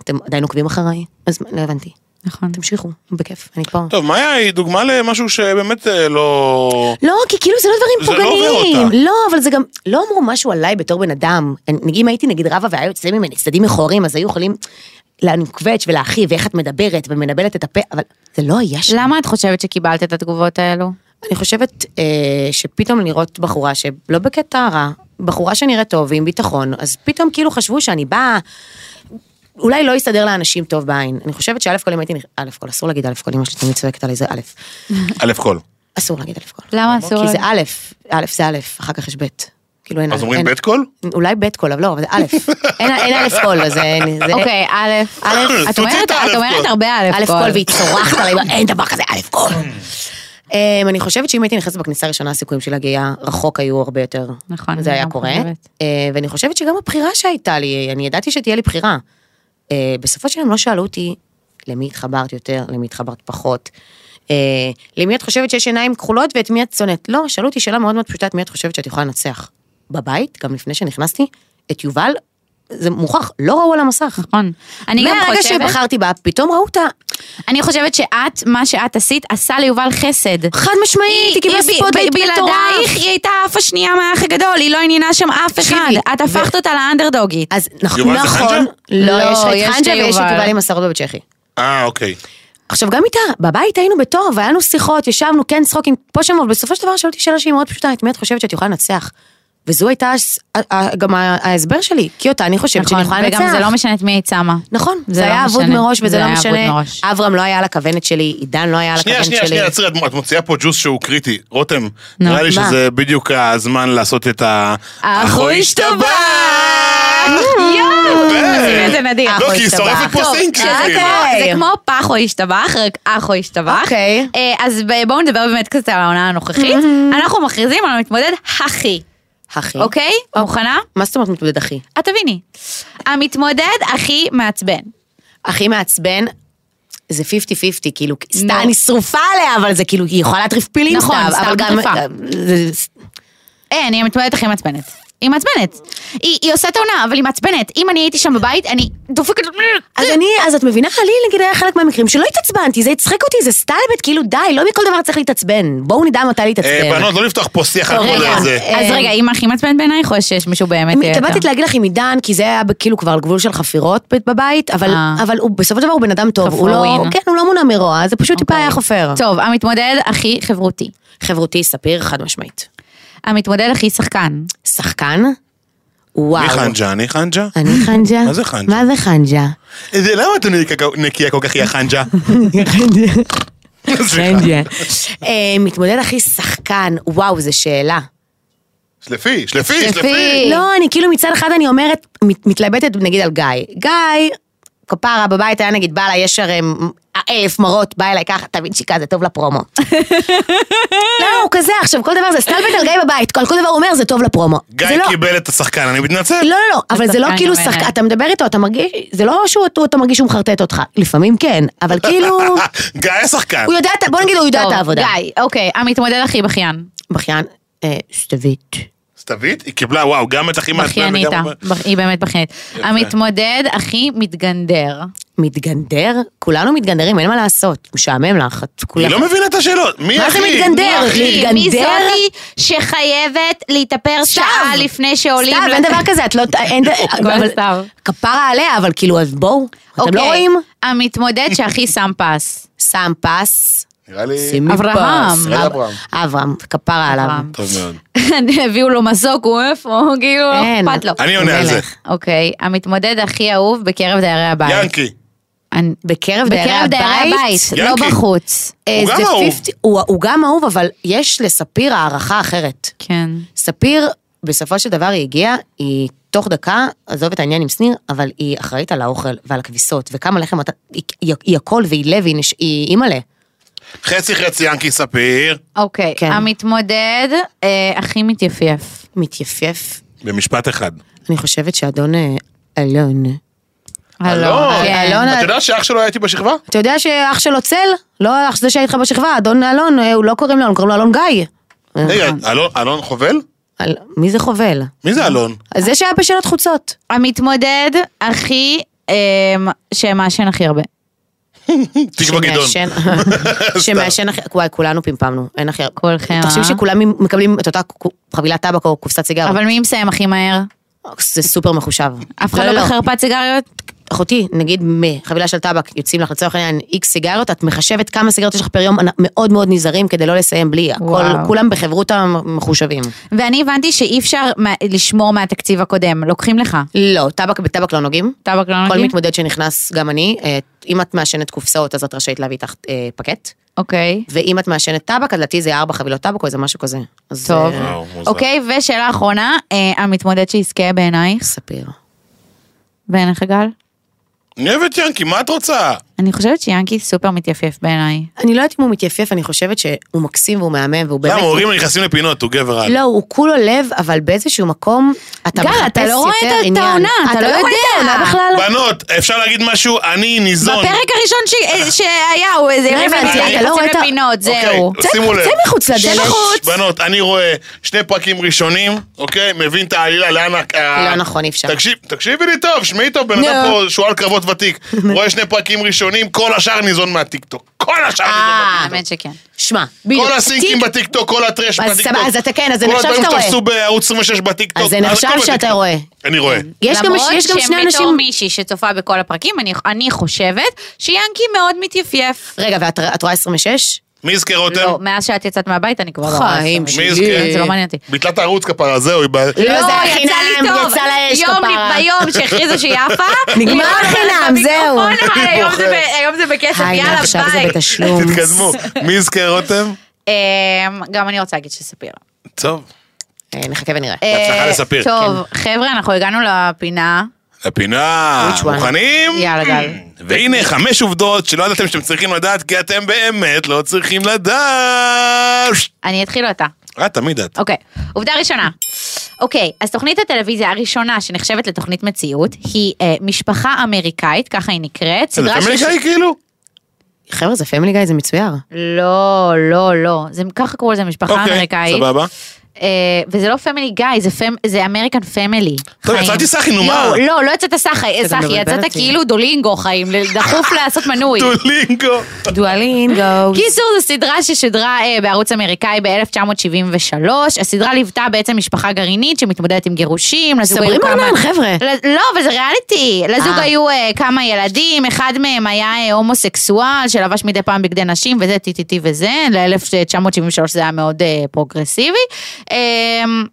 Speaker 4: אתם עדיין עוקבים אחריי, אז מה, לא הבנתי.
Speaker 3: נכון.
Speaker 4: תמשיכו, בכיף, אני פה.
Speaker 2: טוב, מאיה היא דוגמה למשהו שבאמת אה, לא...
Speaker 4: לא, כי כאילו זה לא
Speaker 2: זה
Speaker 4: דברים
Speaker 2: לא עובר
Speaker 4: פוגעניים.
Speaker 2: אותה.
Speaker 4: לא, אבל זה גם, לא אמרו משהו עליי בתור בן אדם. אני- אם הייתי נגיד רבה והיו יוצאים ממני צדדים מכוערים, אז היו יכולים לנקווץ' ולהכי, ואיך את מדברת ומנבלת את הפה, אבל זה לא היה שם.
Speaker 3: למה את חושבת שקיבלת את התגובות האלו?
Speaker 4: אני חושבת אה, שפתאום לראות בחורה שלא בקטע רע, בחורה שנראית טוב ועם ביטחון, אז פתאום כאילו חשבו שאני באה, אולי לא יסתדר לאנשים טוב בעין. אני חושבת שא' כל אם הייתי, נכ- א' כל, אסור להגיד א' כל, אמא שלי תמיד צועקת עלי, זה א',
Speaker 2: א' כל.
Speaker 4: אסור להגיד א' כל.
Speaker 3: למה אסור?
Speaker 4: כי זה
Speaker 3: להגיד?
Speaker 4: א', א' זה א', אחר כך יש ב'. כאילו אין
Speaker 2: אז
Speaker 4: א',
Speaker 2: אומרים
Speaker 4: אין-
Speaker 2: ב' כל?
Speaker 4: אולי ב' כל, אבל לא, אבל זה א', אין- אין א' כל, אז אין, זה
Speaker 3: אוקיי, א', א', את
Speaker 2: תוציא
Speaker 3: אומרת-
Speaker 2: את האלף
Speaker 3: את אומרת
Speaker 2: קול.
Speaker 3: הרבה א' קול.
Speaker 4: א' כל, והיא צורחת עליי, אין דבר כזה א' כל. אמ, אני חושבת שאם הייתי נכנסת בכניסה הראשונה, הסיכויים של הגייה רחוק היו הרבה יותר.
Speaker 3: נכון,
Speaker 4: זה
Speaker 3: אני
Speaker 4: היה
Speaker 3: גם
Speaker 4: קורה.
Speaker 3: חושבת.
Speaker 4: אה, ואני חושבת שגם הבחירה שהייתה לי, אני ידעתי שתהיה לי בחירה. אה, בסופו של יום לא שאלו אותי למי התחברת יותר, למי התחברת פחות. אה, למי את חושבת שיש עיניים כחולות ואת מי את שונאת. לא, שאלו אותי שאלה מאוד מאוד פשוטה, את מי את חושבת שאת יכולה לנצח. בבית, גם לפני שנכנסתי, את יובל, זה מוכח, לא ראו על המסך.
Speaker 3: נכון. אני גם
Speaker 4: מהרגע
Speaker 3: חושבת,
Speaker 4: שבחרתי בה, פתאום ראו אותה,
Speaker 3: אני חושבת שאת, מה שאת עשית, עשה ליובל חסד.
Speaker 4: חד משמעית, היא קיבלה
Speaker 3: ב-
Speaker 4: ספוטלייט
Speaker 3: ב- בלעדייך
Speaker 4: מטורף.
Speaker 3: היא הייתה האף השנייה מהאח הגדול, היא לא עניינה שם אף אחד.
Speaker 4: תקשיבי,
Speaker 3: את הפכת אותה לאנדרדוגית.
Speaker 4: אז
Speaker 2: יובל
Speaker 4: נכון,
Speaker 2: זה
Speaker 4: נכון,
Speaker 2: חנג'ה?
Speaker 4: לא,
Speaker 3: לא,
Speaker 4: יש לך
Speaker 3: יש
Speaker 4: את חנג'ה
Speaker 3: לי
Speaker 4: ויש את
Speaker 3: יובל.
Speaker 4: יובל עם מסעודו בצ'כי.
Speaker 2: אה, אוקיי.
Speaker 4: עכשיו גם איתה, בבית היינו בטוב, והיה לנו שיחות, ישבנו, כן צחוקים, פה שם, אבל בסופו של דבר שאלתי שאלה שהיא מאוד פשוטה, את מי את חושבת שאת יכולה לנצח? וזו הייתה הס- ה- ה- גם ה- ההסבר שלי, כי אותה אני חושבת שאני
Speaker 3: נכון,
Speaker 4: יכולה לנצח.
Speaker 3: וגם זה לא משנה את מי היית שמה.
Speaker 4: נכון,
Speaker 3: זה
Speaker 4: זה
Speaker 3: לא
Speaker 4: היה אבוד
Speaker 3: משנה.
Speaker 4: מראש
Speaker 3: זה
Speaker 4: וזה לא
Speaker 3: היה אבוד
Speaker 4: משנה.
Speaker 3: מראש.
Speaker 4: אברהם לא היה על הכוונת שלי, עידן לא היה על
Speaker 2: שנייה,
Speaker 4: הכוונת
Speaker 2: שנייה,
Speaker 4: שלי.
Speaker 2: שנייה, עצרי, את מוציאה פה ג'וס שהוא קריטי. רותם,
Speaker 3: נו,
Speaker 2: נראה לי
Speaker 4: מה?
Speaker 2: שזה בדיוק הזמן לעשות את ה...
Speaker 3: אחו
Speaker 2: השתבח!
Speaker 3: יואו, זה נדיר.
Speaker 2: לא, כי היא
Speaker 4: השתבח.
Speaker 2: שורפת פה
Speaker 3: טוב, אה,
Speaker 2: סינקים.
Speaker 3: זה
Speaker 4: אוקיי.
Speaker 3: כמו- זה כמו פח או השתבח, רק אח או השתבח.
Speaker 4: אוקיי.
Speaker 3: אה, אז ב- בואו נדבר באמת קצת על העונה הנוכחית. אנחנו מכריזים על המתמודד הכי,
Speaker 4: אחי.
Speaker 3: אוקיי? מוכנה?
Speaker 4: מה זאת אומרת מתמודד אחי?
Speaker 3: את תביני. המתמודד הכי מעצבן.
Speaker 4: הכי מעצבן, זה 50-50, כאילו, סתם,
Speaker 3: נו.
Speaker 4: אני שרופה עליה, אבל זה כאילו, היא יכולה להטריף פילים
Speaker 3: נכון,
Speaker 4: סתם,
Speaker 3: סתם
Speaker 4: אבל גם...
Speaker 3: טריפה.
Speaker 4: זה-
Speaker 3: אה, אני המתמודדת הכי מעצבנת. היא מעצבנת. היא היא עושה את העונה, אבל היא מעצבנת. אם אני הייתי שם בבית, אני דופקת...
Speaker 4: אז אני, אז את מבינה, לי נגיד היה חלק מהמקרים שלא התעצבנתי, זה הצחיק אותי, זה סטלבט, כאילו די, לא מכל דבר צריך להתעצבן, בואו נדע מתי
Speaker 2: אה,
Speaker 4: להתעצבן.
Speaker 2: בנות, לא לפתוח פה שיח על
Speaker 4: טוב,
Speaker 2: כל
Speaker 4: רגע.
Speaker 2: הזה.
Speaker 4: אה,
Speaker 3: אז רגע, אם הכי מעצבן בעינייך, או שיש מישהו באמת... אה, יותר?
Speaker 4: התלבטתי להגיד לך עם עידן, כי זה היה כאילו כבר על גבול של חפירות ב- בבית, אבל,
Speaker 3: אה.
Speaker 4: אבל הוא בסופו של דבר הוא בן אדם טוב, הוא לא,
Speaker 3: חפרוין.
Speaker 4: כן, הוא לא מונע מרוע, זה פשוט טיפה
Speaker 3: אוקיי.
Speaker 4: היה חופר.
Speaker 3: טוב, המתמודד הכי חברותי.
Speaker 4: חברותי ספיר, חד משמעית.
Speaker 3: המתמודד הכי שחקן.
Speaker 4: שחקן? וואו.
Speaker 2: מי חנג'ה? אני חנג'ה?
Speaker 4: אני חנג'ה?
Speaker 2: מה זה חנג'ה?
Speaker 4: מה זה חנג'ה?
Speaker 2: זה- למה אתה נקי- נקייה כל כך, יא חנג'ה? סליחה.
Speaker 4: אה, מתמודד הכי שחקן, וואו, זו שאלה.
Speaker 2: שלפי, שלפי,
Speaker 3: שלפי.
Speaker 2: שלפי.
Speaker 4: לא, אני כאילו מצד אחד אני אומרת, מת- מתלבטת נגיד על גיא. גיא, כפרה בבית היה נגיד בא אליי, יש הרי מ- אלף מראות, בא אליי ככה, תבין שיקה, זה טוב לפרומו. לא, הוא כזה, עכשיו כל דבר זה סטלבט על גיא בבית, כל כל דבר הוא אומר זה טוב לפרומו.
Speaker 2: גיא
Speaker 4: זה לא-
Speaker 2: קיבל את השחקן, אני מתנצל.
Speaker 4: לא, לא, לא, אבל זה לא
Speaker 3: שחקן
Speaker 4: כאילו
Speaker 3: גם
Speaker 4: שחקן,
Speaker 3: בעיניי.
Speaker 4: אתה מדבר איתו, אתה מרגיש, זה לא שהוא, אתה- אתה מרגיש שהוא מחרטט אותך, לפעמים כן, אבל כאילו,
Speaker 2: גיא השחקן.
Speaker 4: הוא יודע, את ה- בוא נגיד הוא יודע
Speaker 3: טוב,
Speaker 4: את העבודה.
Speaker 3: גיא, אוקיי, המתמודד הכי בכיין.
Speaker 4: בכיין, אה, סתווית.
Speaker 2: סתווית, היא קיבלה, וואו, גם את הכי מעצבן
Speaker 3: בכיינית,
Speaker 2: וגם...
Speaker 3: בכ- היא באמת בכיינית. המתמודד הכי מתגנדר.
Speaker 4: מתגנדר? כולנו מתגנדרים, אין מה לעשות. משעמם לך, את
Speaker 2: היא
Speaker 4: כולה.
Speaker 2: לא מבינה את השאלות. מי
Speaker 4: מה
Speaker 2: אחי?
Speaker 4: זה מתגנדר?
Speaker 2: מי אחי?
Speaker 4: להתגנדר?
Speaker 3: מי זאתי שחייבת להתאפר
Speaker 4: סתיו!
Speaker 3: שעה לפני שעולים?
Speaker 4: סתיו, אין
Speaker 3: לק-
Speaker 4: דבר כזה, את לא... אין...
Speaker 3: כל
Speaker 4: אבל-
Speaker 3: סתיו.
Speaker 4: כפרה עליה, אבל כאילו, אז בואו. אתם לא
Speaker 3: אוקיי,
Speaker 4: רואים?
Speaker 3: המתמודד שהכי שם פס.
Speaker 4: שם פס.
Speaker 2: נראה לי...
Speaker 4: שימי פס.
Speaker 3: אברהם.
Speaker 2: נראה לי אה, אברהם.
Speaker 4: אברהם, כפרה עליו.
Speaker 3: אברהם.
Speaker 2: טוב מאוד.
Speaker 3: הביאו לו מזוג, הוא איפה, כאילו, לא
Speaker 4: אין.
Speaker 3: אכפת לו.
Speaker 2: אני עונה על זה.
Speaker 4: מלך.
Speaker 3: אוקיי, המתמודד הכי אהוב בקרב דיירי הבית.
Speaker 2: ינקי.
Speaker 3: אני-
Speaker 4: בקרב דיירי
Speaker 3: בקרב דיירי הבית,
Speaker 4: הבית?
Speaker 3: לא
Speaker 2: ינקי.
Speaker 3: בחוץ.
Speaker 4: אה,
Speaker 2: הוא
Speaker 4: זה
Speaker 2: גם אהוב.
Speaker 4: 50 הוא הוא גם אהוב, אבל יש לספיר הערכה אחרת.
Speaker 3: כן.
Speaker 4: ספיר, בסופו של דבר היא הגיעה, היא תוך דקה, עזוב את העניין עם שניר, אבל היא אחראית על האוכל ועל הכביסות, וכמה לחם אתה... היא, היא, היא הכל, והיא לב, והיא נש- היא אימא'לה.
Speaker 2: חצי חצי ינקי ספיר.
Speaker 3: אוקיי,
Speaker 4: כן.
Speaker 3: המתמודד אה, הכי מתייפייף.
Speaker 4: מתייפייף.
Speaker 2: במשפט אחד.
Speaker 4: אני חושבת שאדון אה, אלון...
Speaker 3: כן.
Speaker 4: אה, אלון-
Speaker 2: את יודעת שאח שלו היה איתי בשכבה?
Speaker 4: אתה יודע שאח שלו צל? לא אח זה שהיה איתך בשכבה, אדון אלון, אה, הוא לא קוראים לו אלון, קוראים לו אלון גיא. אה.
Speaker 2: רגע, אלון- אלון חובל?
Speaker 4: אל- מי זה חובל?
Speaker 2: מי זה אלון?
Speaker 4: זה שהיה בשאלות חוצות.
Speaker 3: המתמודד הכי, אה, שמעשן הכי הרבה.
Speaker 2: תקווה גדעון.
Speaker 4: שמעשן- שמעשן הכי... וואי, כולנו פמפמנו, אין הכי...
Speaker 3: כולכם,
Speaker 4: תחשב
Speaker 3: אה?
Speaker 4: שכולם מקבלים את אותה חבילת טבק או קופסת סיגר.
Speaker 3: אבל מי מסיים הכי מהר?
Speaker 4: זה סופר מחושב.
Speaker 3: אף אחד לא בחרפת סיגריות?
Speaker 4: אחותי, נגיד מחבילה של טבק, יוצאים לך לצורך העניין איקס סיגריות, את מחשבת כמה סיגריות יש לך פר יום, אנ- מאוד מאוד נזהרים כדי לא לסיים בלי, הכל,
Speaker 3: וואו.
Speaker 4: כולם בחברותא מחושבים.
Speaker 3: ואני הבנתי שאי אפשר מה- לשמור מהתקציב הקודם, לוקחים לך.
Speaker 4: לא, טבק בטבק לא נוגעים.
Speaker 3: טבק לא
Speaker 4: כל
Speaker 3: נוגעים?
Speaker 4: מתמודד שנכנס, גם אני, אה, אם את מעשנת קופסאות אז את רשאית להביא איתך אה, פקט,
Speaker 3: אוקיי.
Speaker 4: ואם את מעשנת טבק, אז לדעתי זה ארבע חבילות טבק או איזה משהו כזה. אז,
Speaker 3: טוב.
Speaker 4: אה,
Speaker 2: וואו, מוזר.
Speaker 3: אוקיי, ושאלה אחרונה, אה, המתמודד שיזכה בעינייך,
Speaker 4: ספיר.
Speaker 3: בעיניך גל?
Speaker 2: אני אוהב את ינקי, מה את רוצה?
Speaker 3: אני חושבת שיאנקי סופר מתייפייף בעיניי.
Speaker 4: אני לא יודעת אם הוא מתייפייף, אני חושבת שהוא מקסים והוא מהמם והוא באמת...
Speaker 2: למה, הורים נכנסים לפינות, הוא גבר על.
Speaker 4: לא, הוא כולו לב, אבל באיזשהו מקום, אתה
Speaker 3: גל,
Speaker 4: מחפש יותר
Speaker 3: אתה
Speaker 4: עניין.
Speaker 3: לא רואה את העונה, אתה לא
Speaker 4: רואה את
Speaker 3: יודע.
Speaker 4: העונה בכלל.
Speaker 2: בנות, אפשר להגיד משהו? אני ניזון.
Speaker 3: בפרק הראשון ש- אה, שהיה, הוא איזה
Speaker 4: לא הבנתי,
Speaker 3: רבע,
Speaker 4: אתה לא רואה את ה-
Speaker 3: לפינות,
Speaker 2: אוקיי,
Speaker 3: זהו.
Speaker 4: צא-
Speaker 2: שימו לב.
Speaker 4: צא מחוץ לדלת.
Speaker 2: שלוש
Speaker 4: בחוץ.
Speaker 2: בנות, אני רואה שני פרקים ראשונים, אוקיי? מבין את העלילה, לאן... ה-
Speaker 4: לא נכון, אי אפשר.
Speaker 2: תקשיב, תקשיבי לי טוב, שמעי טוב, בן אדם
Speaker 4: נו.
Speaker 2: פה שועל קרבות ותיק. רואה שני פרקים ראשונים, כל השאר ניזון מהטיקטוק. כל השאר ניזון
Speaker 3: אה,
Speaker 2: מהטיקטוק.
Speaker 3: האמת שכן.
Speaker 4: שמע,
Speaker 2: כל
Speaker 4: טיק-
Speaker 2: הסינקים בטיקטוק, כל הטרש
Speaker 4: אז
Speaker 2: בטיקטוק.
Speaker 4: סבבה, אז אתה כן, אז זה
Speaker 2: כל
Speaker 4: נחשב
Speaker 2: הדברים
Speaker 4: שאתה
Speaker 2: שתעשו בערוץ 26 בטיקטוק.
Speaker 4: אז זה נחשב
Speaker 2: הכל
Speaker 4: שאתה
Speaker 2: בטיקטוק.
Speaker 4: רואה. כן.
Speaker 2: אני רואה.
Speaker 4: יש גם- יש גם שני
Speaker 3: למרות שבתור
Speaker 4: אנשים...
Speaker 3: מישהי שצופה בכל הפרקים, אני- אני חושבת שיאנקי מאוד מתייפייף.
Speaker 4: רגע, ואת את רואה 26?
Speaker 2: מי יזכר אותם?
Speaker 3: לא, מאז שאת יצאת מהבית אני כבר לא רואה.
Speaker 4: חיים
Speaker 2: מי
Speaker 4: שלי.
Speaker 2: יזכה?
Speaker 3: זה לא מעניין אותי.
Speaker 2: ביטלה את הערוץ כפרה, זהו, היא באה.
Speaker 4: לא, זה היה
Speaker 3: יצא לי
Speaker 4: חינם,
Speaker 3: טוב.
Speaker 4: יצא לאש,
Speaker 3: יום
Speaker 4: כפרה.
Speaker 3: לי- ביום שהכריזו שהיא עפה.
Speaker 4: נגמר
Speaker 3: לירון אומרת
Speaker 4: חינם, זהו.
Speaker 3: במיקרופון,
Speaker 2: אני
Speaker 3: היום זה ב-
Speaker 2: בוחר.
Speaker 3: היום זה בכסף,
Speaker 4: היי,
Speaker 3: יאללה,
Speaker 4: עכשיו זה
Speaker 3: ביי.
Speaker 4: בתשלום.
Speaker 2: תתקדמו. מי יזכר אותם?
Speaker 3: אמ, גם אני רוצה להגיד שספיר.
Speaker 2: טוב.
Speaker 4: אה, נחכה ונראה.
Speaker 2: בהצלחה
Speaker 3: אה,
Speaker 2: לספיר.
Speaker 3: טוב, חבר'ה, אנחנו הגענו לפינה.
Speaker 2: לפינה,
Speaker 4: Which one?
Speaker 2: מוכנים?
Speaker 3: יאללה, גל.
Speaker 4: אוקיי.
Speaker 2: והנה חמש עובדות שלא ידעתם שאתם צריכים לדעת, כי אתם באמת לא צריכים לדעת.
Speaker 3: אני אתחיל אותה.
Speaker 2: אה, תמיד את.
Speaker 3: אוקיי, עובדה ראשונה. אוקיי, אז תוכנית הטלוויזיה הראשונה שנחשבת לתוכנית מציאות היא אה, משפחה אמריקאית, ככה היא נקראת.
Speaker 2: זה
Speaker 3: סדרה שיש-
Speaker 2: אמריקאי כאילו?
Speaker 4: חבר'ה, זה פמילי גיא, זה מצויר.
Speaker 3: לא, לא, לא. זה ככה קראו לזה משפחה
Speaker 2: אוקיי,
Speaker 3: אמריקאית.
Speaker 2: סבבה.
Speaker 3: אה, וזה לא פמילי גיא, זה פמ- זה אמריקן פמילי.
Speaker 2: טוב,
Speaker 3: חיים.
Speaker 2: יצאתי סחי, נו מה?
Speaker 3: לא, לא, לא יצאת סחי,
Speaker 4: אתה
Speaker 3: סחי,
Speaker 4: מבלבל
Speaker 3: יצאת
Speaker 4: אותי.
Speaker 3: כאילו דולינגו חיים, דחוף לעשות מנוי.
Speaker 2: דולינגו.
Speaker 4: דואלינגו.
Speaker 3: קיצור זו סדרה ששודרה אה, בערוץ אמריקאי ב-1973, הסדרה ליוותה בעצם משפחה גרעינית שמתמודדת עם גירושים, לזוג
Speaker 4: סברים
Speaker 3: היו כמה...
Speaker 4: ארנן, חבר'ה.
Speaker 3: ל- לא, אבל זה ריאליטי. לזוג
Speaker 4: אה.
Speaker 3: היו אה, כמה ילדים, אחד מהם היה אה, הומוסקסואל שלבש מדי פעם בגדי נשים וזה טי טי טי וזה, ל-1973 זה היה מאוד אה, פרוגרסיבי. אמ,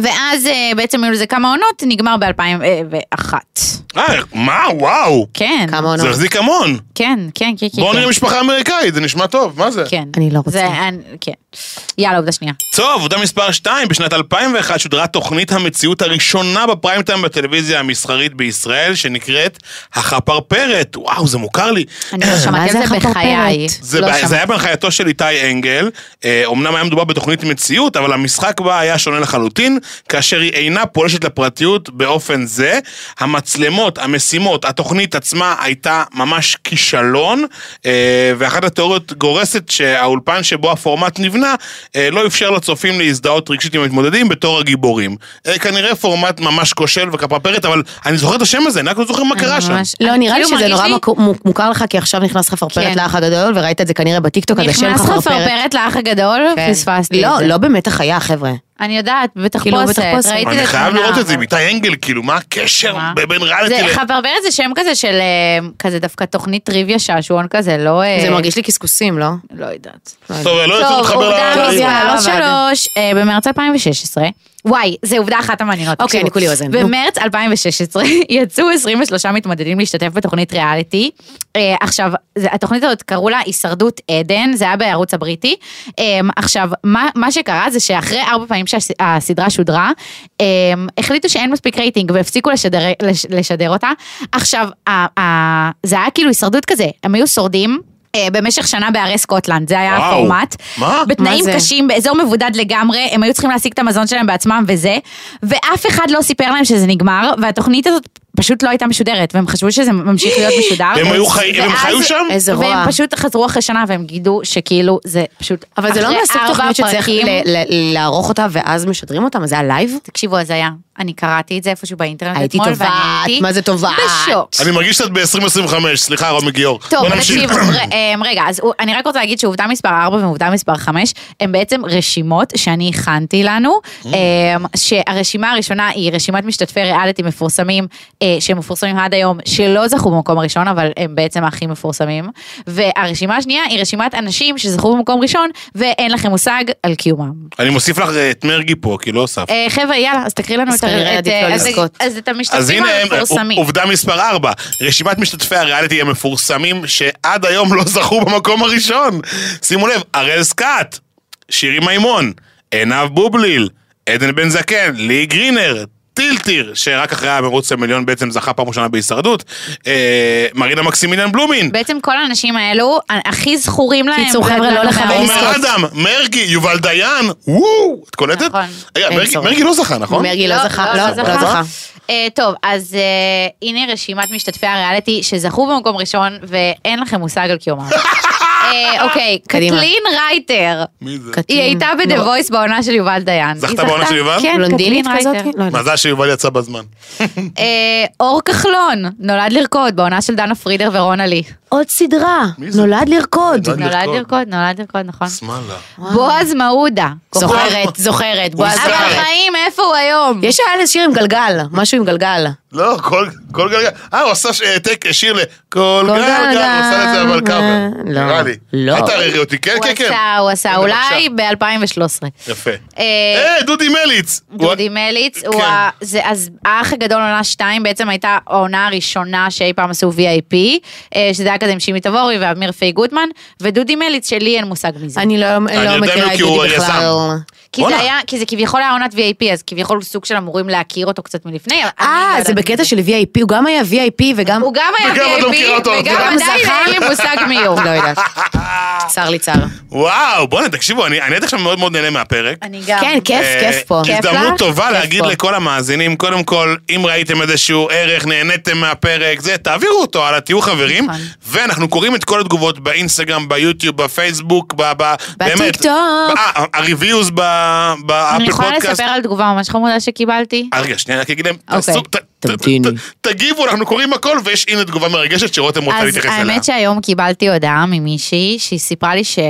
Speaker 3: ואז אה, בעצם היו לזה כמה עונות, נגמר ב-2001.
Speaker 2: אה, מה, וואו.
Speaker 3: כן.
Speaker 4: כמה עונות?
Speaker 2: זה החזיק המון.
Speaker 3: כן, כן, כן, כן.
Speaker 2: בואו
Speaker 3: כן.
Speaker 2: נראה משפחה אמריקאית, זה נשמע טוב, מה זה?
Speaker 3: כן.
Speaker 4: אני לא רוצה.
Speaker 3: זה, אני- כן. יאללה, עובדה שנייה.
Speaker 2: טוב, עובדה מספר 2, בשנת 2001 שודרה תוכנית המציאות הראשונה בפריים טיים בטלוויזיה המסחרית בישראל, שנקראת החפרפרת. וואו, זה מוכר לי.
Speaker 3: אני לא שמעתי
Speaker 4: זה
Speaker 3: על זה
Speaker 4: החפרפרת?
Speaker 3: בחיי.
Speaker 2: זה,
Speaker 3: לא
Speaker 2: לא
Speaker 3: שמעתי.
Speaker 2: זה היה בהנחייתו של איתי אנגל, אה, אומנם היה מדובר בתוכנית מציאות, אבל המשחק בה היה שונה לחלוטין, כאשר היא אינה פולשת לפרטיות באופן זה. המצלמות, המשימות, התוכנית עצמה הייתה ממש כישלון, אה, ואחת התיאוריות גורסת שהאולפן שבו הפורמט נבנה, אה, לא אפשר לצופים להזדהות רגשית עם המתמודדים בתור הגיבורים. אה, כנראה פורמט ממש כושל וכפרפרת, אבל אני זוכר את השם הזה, אני רק לא זוכר מה קרה
Speaker 3: אני
Speaker 2: שם.
Speaker 3: ממש-
Speaker 4: לא, נראה לי
Speaker 3: כאילו
Speaker 4: שזה
Speaker 3: מרגיש
Speaker 4: נורא
Speaker 3: לי-
Speaker 4: מקו- מוק- מוכר לך, כי עכשיו נכנס
Speaker 3: כן.
Speaker 4: חפרפרת לאח הגדול, וראית את זה כנראה בטיקטוק, אז השם
Speaker 3: נכנס
Speaker 4: חפרפרת.
Speaker 3: חפרפרת לאח הגדול,
Speaker 4: כן.
Speaker 3: פספסתי את
Speaker 4: לא,
Speaker 3: זה.
Speaker 4: לא באמת החיה, חבר'ה.
Speaker 3: אני יודעת,
Speaker 4: כאילו,
Speaker 3: בתחפושת,
Speaker 4: בתחפושת.
Speaker 3: ראיתי את התמונה.
Speaker 2: אני חייב לראות את זה עם
Speaker 3: אבל-
Speaker 2: איתי אנגל, כאילו, מה הקשר
Speaker 3: מה?
Speaker 2: בין
Speaker 3: זה,
Speaker 2: ריאליטי ל...
Speaker 3: חפרפרת זה שם כזה של אה, כזה דווקא תוכנית טריוויה שעשועון כזה, לא... אה,
Speaker 4: זה מרגיש לי קשקוסים, לא?
Speaker 3: לא יודעת.
Speaker 2: טוב, לא יצא
Speaker 3: טוב,
Speaker 2: להתחבר
Speaker 3: עובדה
Speaker 2: ל-
Speaker 4: מספר- יאללה, לא
Speaker 3: מספר
Speaker 4: עבד.
Speaker 3: שלוש, אה, במרץ 2016. וואי, זה עובדה אחת המעניינות.
Speaker 4: אוקיי,
Speaker 3: תקשיבו.
Speaker 4: אני כולי אוזן, נו.
Speaker 3: במרץ 2016 יצאו 23 מתמודדים להשתתף בתוכנית ריאליטי. אה, עכשיו, זה- התוכנית הזאת קראו לה הישרדות עדן, זה היה בערוץ הבריטי. אה, עכשיו, מה מה שקרה זה שאחרי ארבע פעמים שהסדרה שודרה, אה, החליטו שאין מספיק רייטינג והפסיקו לשדר- לש- לשדר אותה. עכשיו, ה- ה- זה היה כאילו הישרדות כזה, הם היו שורדים. אה, במשך שנה בערי סקוטלנד, זה היה
Speaker 2: וואו.
Speaker 3: הפורמט.
Speaker 2: מה?
Speaker 3: בתנאים
Speaker 4: מה זה?
Speaker 3: קשים, באזור מבודד לגמרי, הם היו צריכים להשיג את המזון שלהם בעצמם וזה, ואף אחד לא סיפר להם שזה נגמר, והתוכנית הזאת פשוט לא הייתה משודרת, והם חשבו שזה ממשיך להיות משודר.
Speaker 2: והם היו חי- והם
Speaker 3: ואז-
Speaker 2: חיו שם?
Speaker 4: איזה רוע.
Speaker 3: והם פשוט חזרו אחרי שנה והם גידו שכאילו זה פשוט...
Speaker 4: אבל זה לא
Speaker 3: אחרי
Speaker 4: מהסוג
Speaker 3: ארבע
Speaker 4: תוכנית שצריך
Speaker 3: פרקים-
Speaker 4: ל- ל- לערוך אותה ואז משדרים אותה, מה זה הלייב?
Speaker 3: תקשיבו, אז היה. אני קראתי את זה איפשהו באינטרנט
Speaker 4: הייתי
Speaker 3: אתמול,
Speaker 4: טובעת,
Speaker 3: ואני הייתי...
Speaker 4: מה זה טובעת?
Speaker 3: בשוק.
Speaker 2: אני מרגיש שאת ב-2025, סליחה, רומי גיאור.
Speaker 3: טוב,
Speaker 2: בוא נמשיך.
Speaker 3: תקשיב, ר- אמ, רגע, אז הוא- אני רק רוצה להגיד שעובדה מספר 4 ועובדה מספר 5, הם בעצם רשימות שאני הכנתי לנו,
Speaker 2: Mm.
Speaker 3: אמ, שהרשימה הראשונה היא רשימת משתתפי ריאליטי מפורסמים, אה, שהם מפורסמים עד היום, שלא זכו במקום הראשון, אבל הם בעצם הכי מפורסמים, והרשימה השנייה היא רשימת אנשים שזכו במקום ראשון, ואין לכם מושג על קיומם.
Speaker 2: אני מוסיף לך אה, את מרגי פה, כי לא הוספת.
Speaker 3: אה, חבר'ה, יאללה, אז תקריא לנו
Speaker 4: אז
Speaker 3: את ה-
Speaker 4: כנראה
Speaker 3: את
Speaker 4: עדיף לא
Speaker 3: אה, אז-
Speaker 4: לזכות.
Speaker 3: אז את
Speaker 2: אז
Speaker 3: המשתתפים
Speaker 2: הנה הם,
Speaker 3: המפורסמים.
Speaker 2: עובדה מספר 4, רשימת משתתפי הריאליטי המפורסמים שעד היום לא זכו במקום הראשון. שימו לב, הראל סקאט, שירי מימון, עינב בובליל, עדן בן זקן, לי גרינר. טילטיר, שרק אחרי המרוץ למיליון בעצם זכה פעם ראשונה בהישרדות, אה, מרינה מקסימיליאן בלומין,
Speaker 3: בעצם כל האנשים האלו, הכי זכורים להם.
Speaker 4: קיצור, חבר'ה, לא
Speaker 3: ולא
Speaker 4: לחפש.
Speaker 3: מאוד.
Speaker 2: עומר אדם, מרגי, יובל דיין, וואו, את קולטת?
Speaker 3: נכון.
Speaker 2: רגע,
Speaker 4: אין
Speaker 2: מרגי-
Speaker 4: צורך.
Speaker 2: מרגי לא זכה, נכון?
Speaker 4: מרגי לא זכה, לא, לא זכה.
Speaker 3: אה, טוב, אז אה, הנה רשימת משתתפי הריאליטי שזכו במקום ראשון, ואין לכם מושג על קיומם. אה, אוקיי,
Speaker 4: קדימה.
Speaker 3: קטלין רייטר.
Speaker 2: מי זה?
Speaker 4: קטלין. לא.
Speaker 3: היא הייתה ב"דה
Speaker 4: נורא.
Speaker 3: וויס" בעונה של יובל דיין.
Speaker 2: זכתה
Speaker 3: היא
Speaker 2: בעונה של יובל?
Speaker 3: כן,
Speaker 4: בלונדינית
Speaker 3: קטלין רייטר.
Speaker 4: כזאת? לא יודעת.
Speaker 2: מזל שיובל יצא בזמן.
Speaker 3: אה, אור כחלון, נולד לרקוד, בעונה של דנה פרידר ורונה לי.
Speaker 4: עוד סדרה,
Speaker 2: מי זה?
Speaker 4: נולד לרקוד.
Speaker 2: נולד
Speaker 3: נולד
Speaker 2: לרקוד.
Speaker 3: לרקוד, נולד לרקוד,
Speaker 4: אה.
Speaker 3: נכון.
Speaker 2: שמאלה.
Speaker 3: בועז מעודה.
Speaker 4: זוכרת, זוכרת, בועז
Speaker 2: זוכר.
Speaker 3: אבל
Speaker 4: זוכרת.
Speaker 3: חיים, איפה הוא היום?
Speaker 4: יש היה איזה שיר עם גלגל, משהו עם גל.
Speaker 2: לא, כל כל גלגל. אה, הוא עשה ש- אה, טק- שיר לכל גלגל, הוא עשה את זה אבל קאבר.
Speaker 4: לא,
Speaker 2: נראה לי.
Speaker 4: לא.
Speaker 2: אל תערערי אותי, כן,
Speaker 3: הוא
Speaker 2: כן, כן.
Speaker 3: עשה, הוא עשה,
Speaker 2: הנה,
Speaker 3: אולי
Speaker 2: בבקשה.
Speaker 3: ב-2013.
Speaker 2: יפה.
Speaker 3: אה,
Speaker 2: אה, דודי מליץ.
Speaker 3: דודי מליץ, הוא
Speaker 2: כן.
Speaker 3: ה... זה, אז האח הגדול עונה 2 בעצם הייתה העונה הראשונה שאי פעם עשו VIP, אה, שזה היה כזה עם שימי תבורי ואמיר פיי גוטמן, ודודי מליץ שלי אין מושג מי זה.
Speaker 4: אני לא
Speaker 2: יודע
Speaker 4: לא
Speaker 2: מי
Speaker 4: מכירה את
Speaker 2: כי הוא
Speaker 4: דודי
Speaker 2: היזם.
Speaker 4: בכלל.
Speaker 3: כי זה,
Speaker 2: בואנה.
Speaker 3: היה, כי זה כביכול היה עונת VIP, אז כביכול הוא סוג של אמורים להכיר אותו קצת מלפני. אבל אני לא
Speaker 4: אה,
Speaker 3: יודעת
Speaker 4: זה
Speaker 3: מי
Speaker 4: בקטע של VIP, הוא גם היה VIP וגם...
Speaker 3: הוא גם היה
Speaker 2: וגם את לא מכירה
Speaker 3: VIP,
Speaker 2: אותו.
Speaker 3: וגם
Speaker 4: וגם
Speaker 3: עדיין
Speaker 4: זכה.
Speaker 3: אין לי מושג מי הוא.
Speaker 4: לא יודעת. צר לי צר.
Speaker 2: וואו, בוא'נה, תקשיבו, אני אני עד עכשיו מאוד מאוד נהנה מהפרק.
Speaker 3: אני גם.
Speaker 4: כן, כיף,
Speaker 2: אה,
Speaker 4: כיף פה.
Speaker 3: כיף לך?
Speaker 2: הזדמנות טובה
Speaker 3: כיף
Speaker 2: להגיד
Speaker 3: פה.
Speaker 2: לכל המאזינים, קודם כל, אם ראיתם איזשהו ערך, נהניתם מהפרק, זה, תעבירו אותו הלאה, תהיו חברים.
Speaker 3: נכון.
Speaker 2: ואנחנו קוראים את כל התגובות באינסטגרם, ביוטיוב, בפייסבוק, ב... ב- באמת.
Speaker 4: בטיקטוק.
Speaker 2: אה, ה-reviews ב-
Speaker 3: אני
Speaker 2: באפל
Speaker 3: יכולה לספר
Speaker 2: אה, פודקאסט.
Speaker 3: על תגובה ממש חמודה שקיבלתי?
Speaker 2: אה, רגע, שנייה, רק אגיד להם,
Speaker 3: אוקיי.
Speaker 2: תעשו- ת- ת-
Speaker 4: תמתיני.
Speaker 2: ת- תגיבו, אנחנו קוראים הכל, ויש הנה תגובה מרגשת שרותם רוצה להתייחס
Speaker 3: אז
Speaker 2: אליה.
Speaker 3: האמת שהיום קיבלתי הודעה ממישהי שהיא סיפרה לי שהיא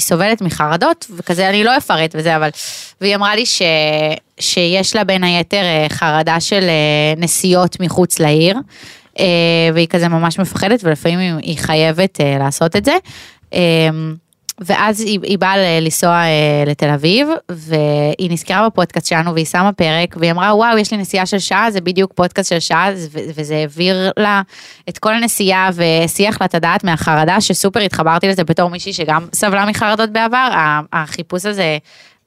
Speaker 3: סובלת מחרדות, וכזה, אני לא אפרט וזה, אבל... והיא אמרה לי ש... שיש לה בין היתר אה, חרדה של אה, נסיעות מחוץ לעיר, אה, והיא כזה ממש מפחדת, ולפעמים היא- היא חייבת אה, לעשות את זה. אה, ואז היא, היא באה ל- לנסוע אה, לתל אביב, והיא נזכרה בפודקאסט שלנו, והיא שמה פרק, והיא אמרה, וואו, יש לי נסיעה של שעה, זה בדיוק פודקאסט של שעה, ו- וזה העביר לה את כל הנסיעה, והסיח לה את הדעת מהחרדה, שסופר התחברתי לזה בתור מישהי שגם סבלה מחרדות בעבר, ה- החיפוש הזה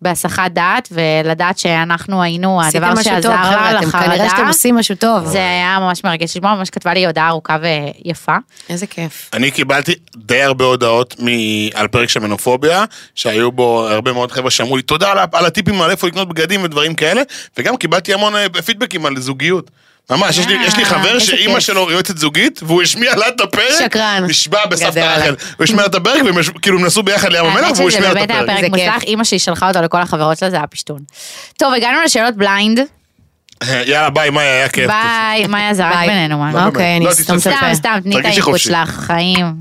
Speaker 3: בהסחת דעת, ולדעת שאנחנו היינו הדבר
Speaker 4: עשיתם משהו
Speaker 3: שעזר
Speaker 4: טוב,
Speaker 3: לה
Speaker 4: חבר'ה, אתם
Speaker 3: לחרדה.
Speaker 4: כנראה שאתם עושים משהו טוב.
Speaker 3: זה היה ממש מרגש לשמוע, ממש כתבה לי הודעה ארוכה ויפה.
Speaker 4: איזה כיף.
Speaker 2: אני קיבלתי די הרבה הודעות מ... על פרק של מנופוביה, שהיו בו הרבה מאוד חבר'ה שאמרו לי תודה על, ה- על הטיפים על איפה לקנות בגדים ודברים כאלה, וגם קיבלתי המון אה, פידבקים על זוגיות. ממש, יש לי, יש לי חבר
Speaker 3: אה, איזה
Speaker 2: שאימא
Speaker 3: כיף.
Speaker 2: שלו יועצת זוגית, והוא השמיע לה את הפרק,
Speaker 4: שקרן.
Speaker 2: נשבע
Speaker 4: גדל
Speaker 2: בסבתא
Speaker 4: עליו.
Speaker 2: רחל. הוא השמיע לה את הפרק, והם ישבו- כאילו הם נסעו ביחד לים המלח, והוא השמיע
Speaker 3: האמת שזה
Speaker 2: לה את
Speaker 3: אה, באמת היה
Speaker 2: הפרק.
Speaker 3: פרק
Speaker 4: זה
Speaker 3: מוצלח,
Speaker 4: כיף.
Speaker 3: אימא שלי שלחה אותו לכל החברות שלה, זה היה פשטון. טוב, הגענו לשאלות בליינד.
Speaker 2: יאללה, ביי, מאיה, היה כיף.
Speaker 3: ביי, מאיה זרק
Speaker 4: ביי.
Speaker 3: בינינו, מה?
Speaker 2: לא
Speaker 4: אוקיי,
Speaker 2: באמת.
Speaker 4: אני
Speaker 2: לא,
Speaker 4: אסתום את
Speaker 2: תסתום.
Speaker 3: סתם,
Speaker 4: הפה.
Speaker 3: סתם, תני את
Speaker 2: תרגישי
Speaker 3: האינפוט
Speaker 2: חופשי.
Speaker 3: שלך, חיים.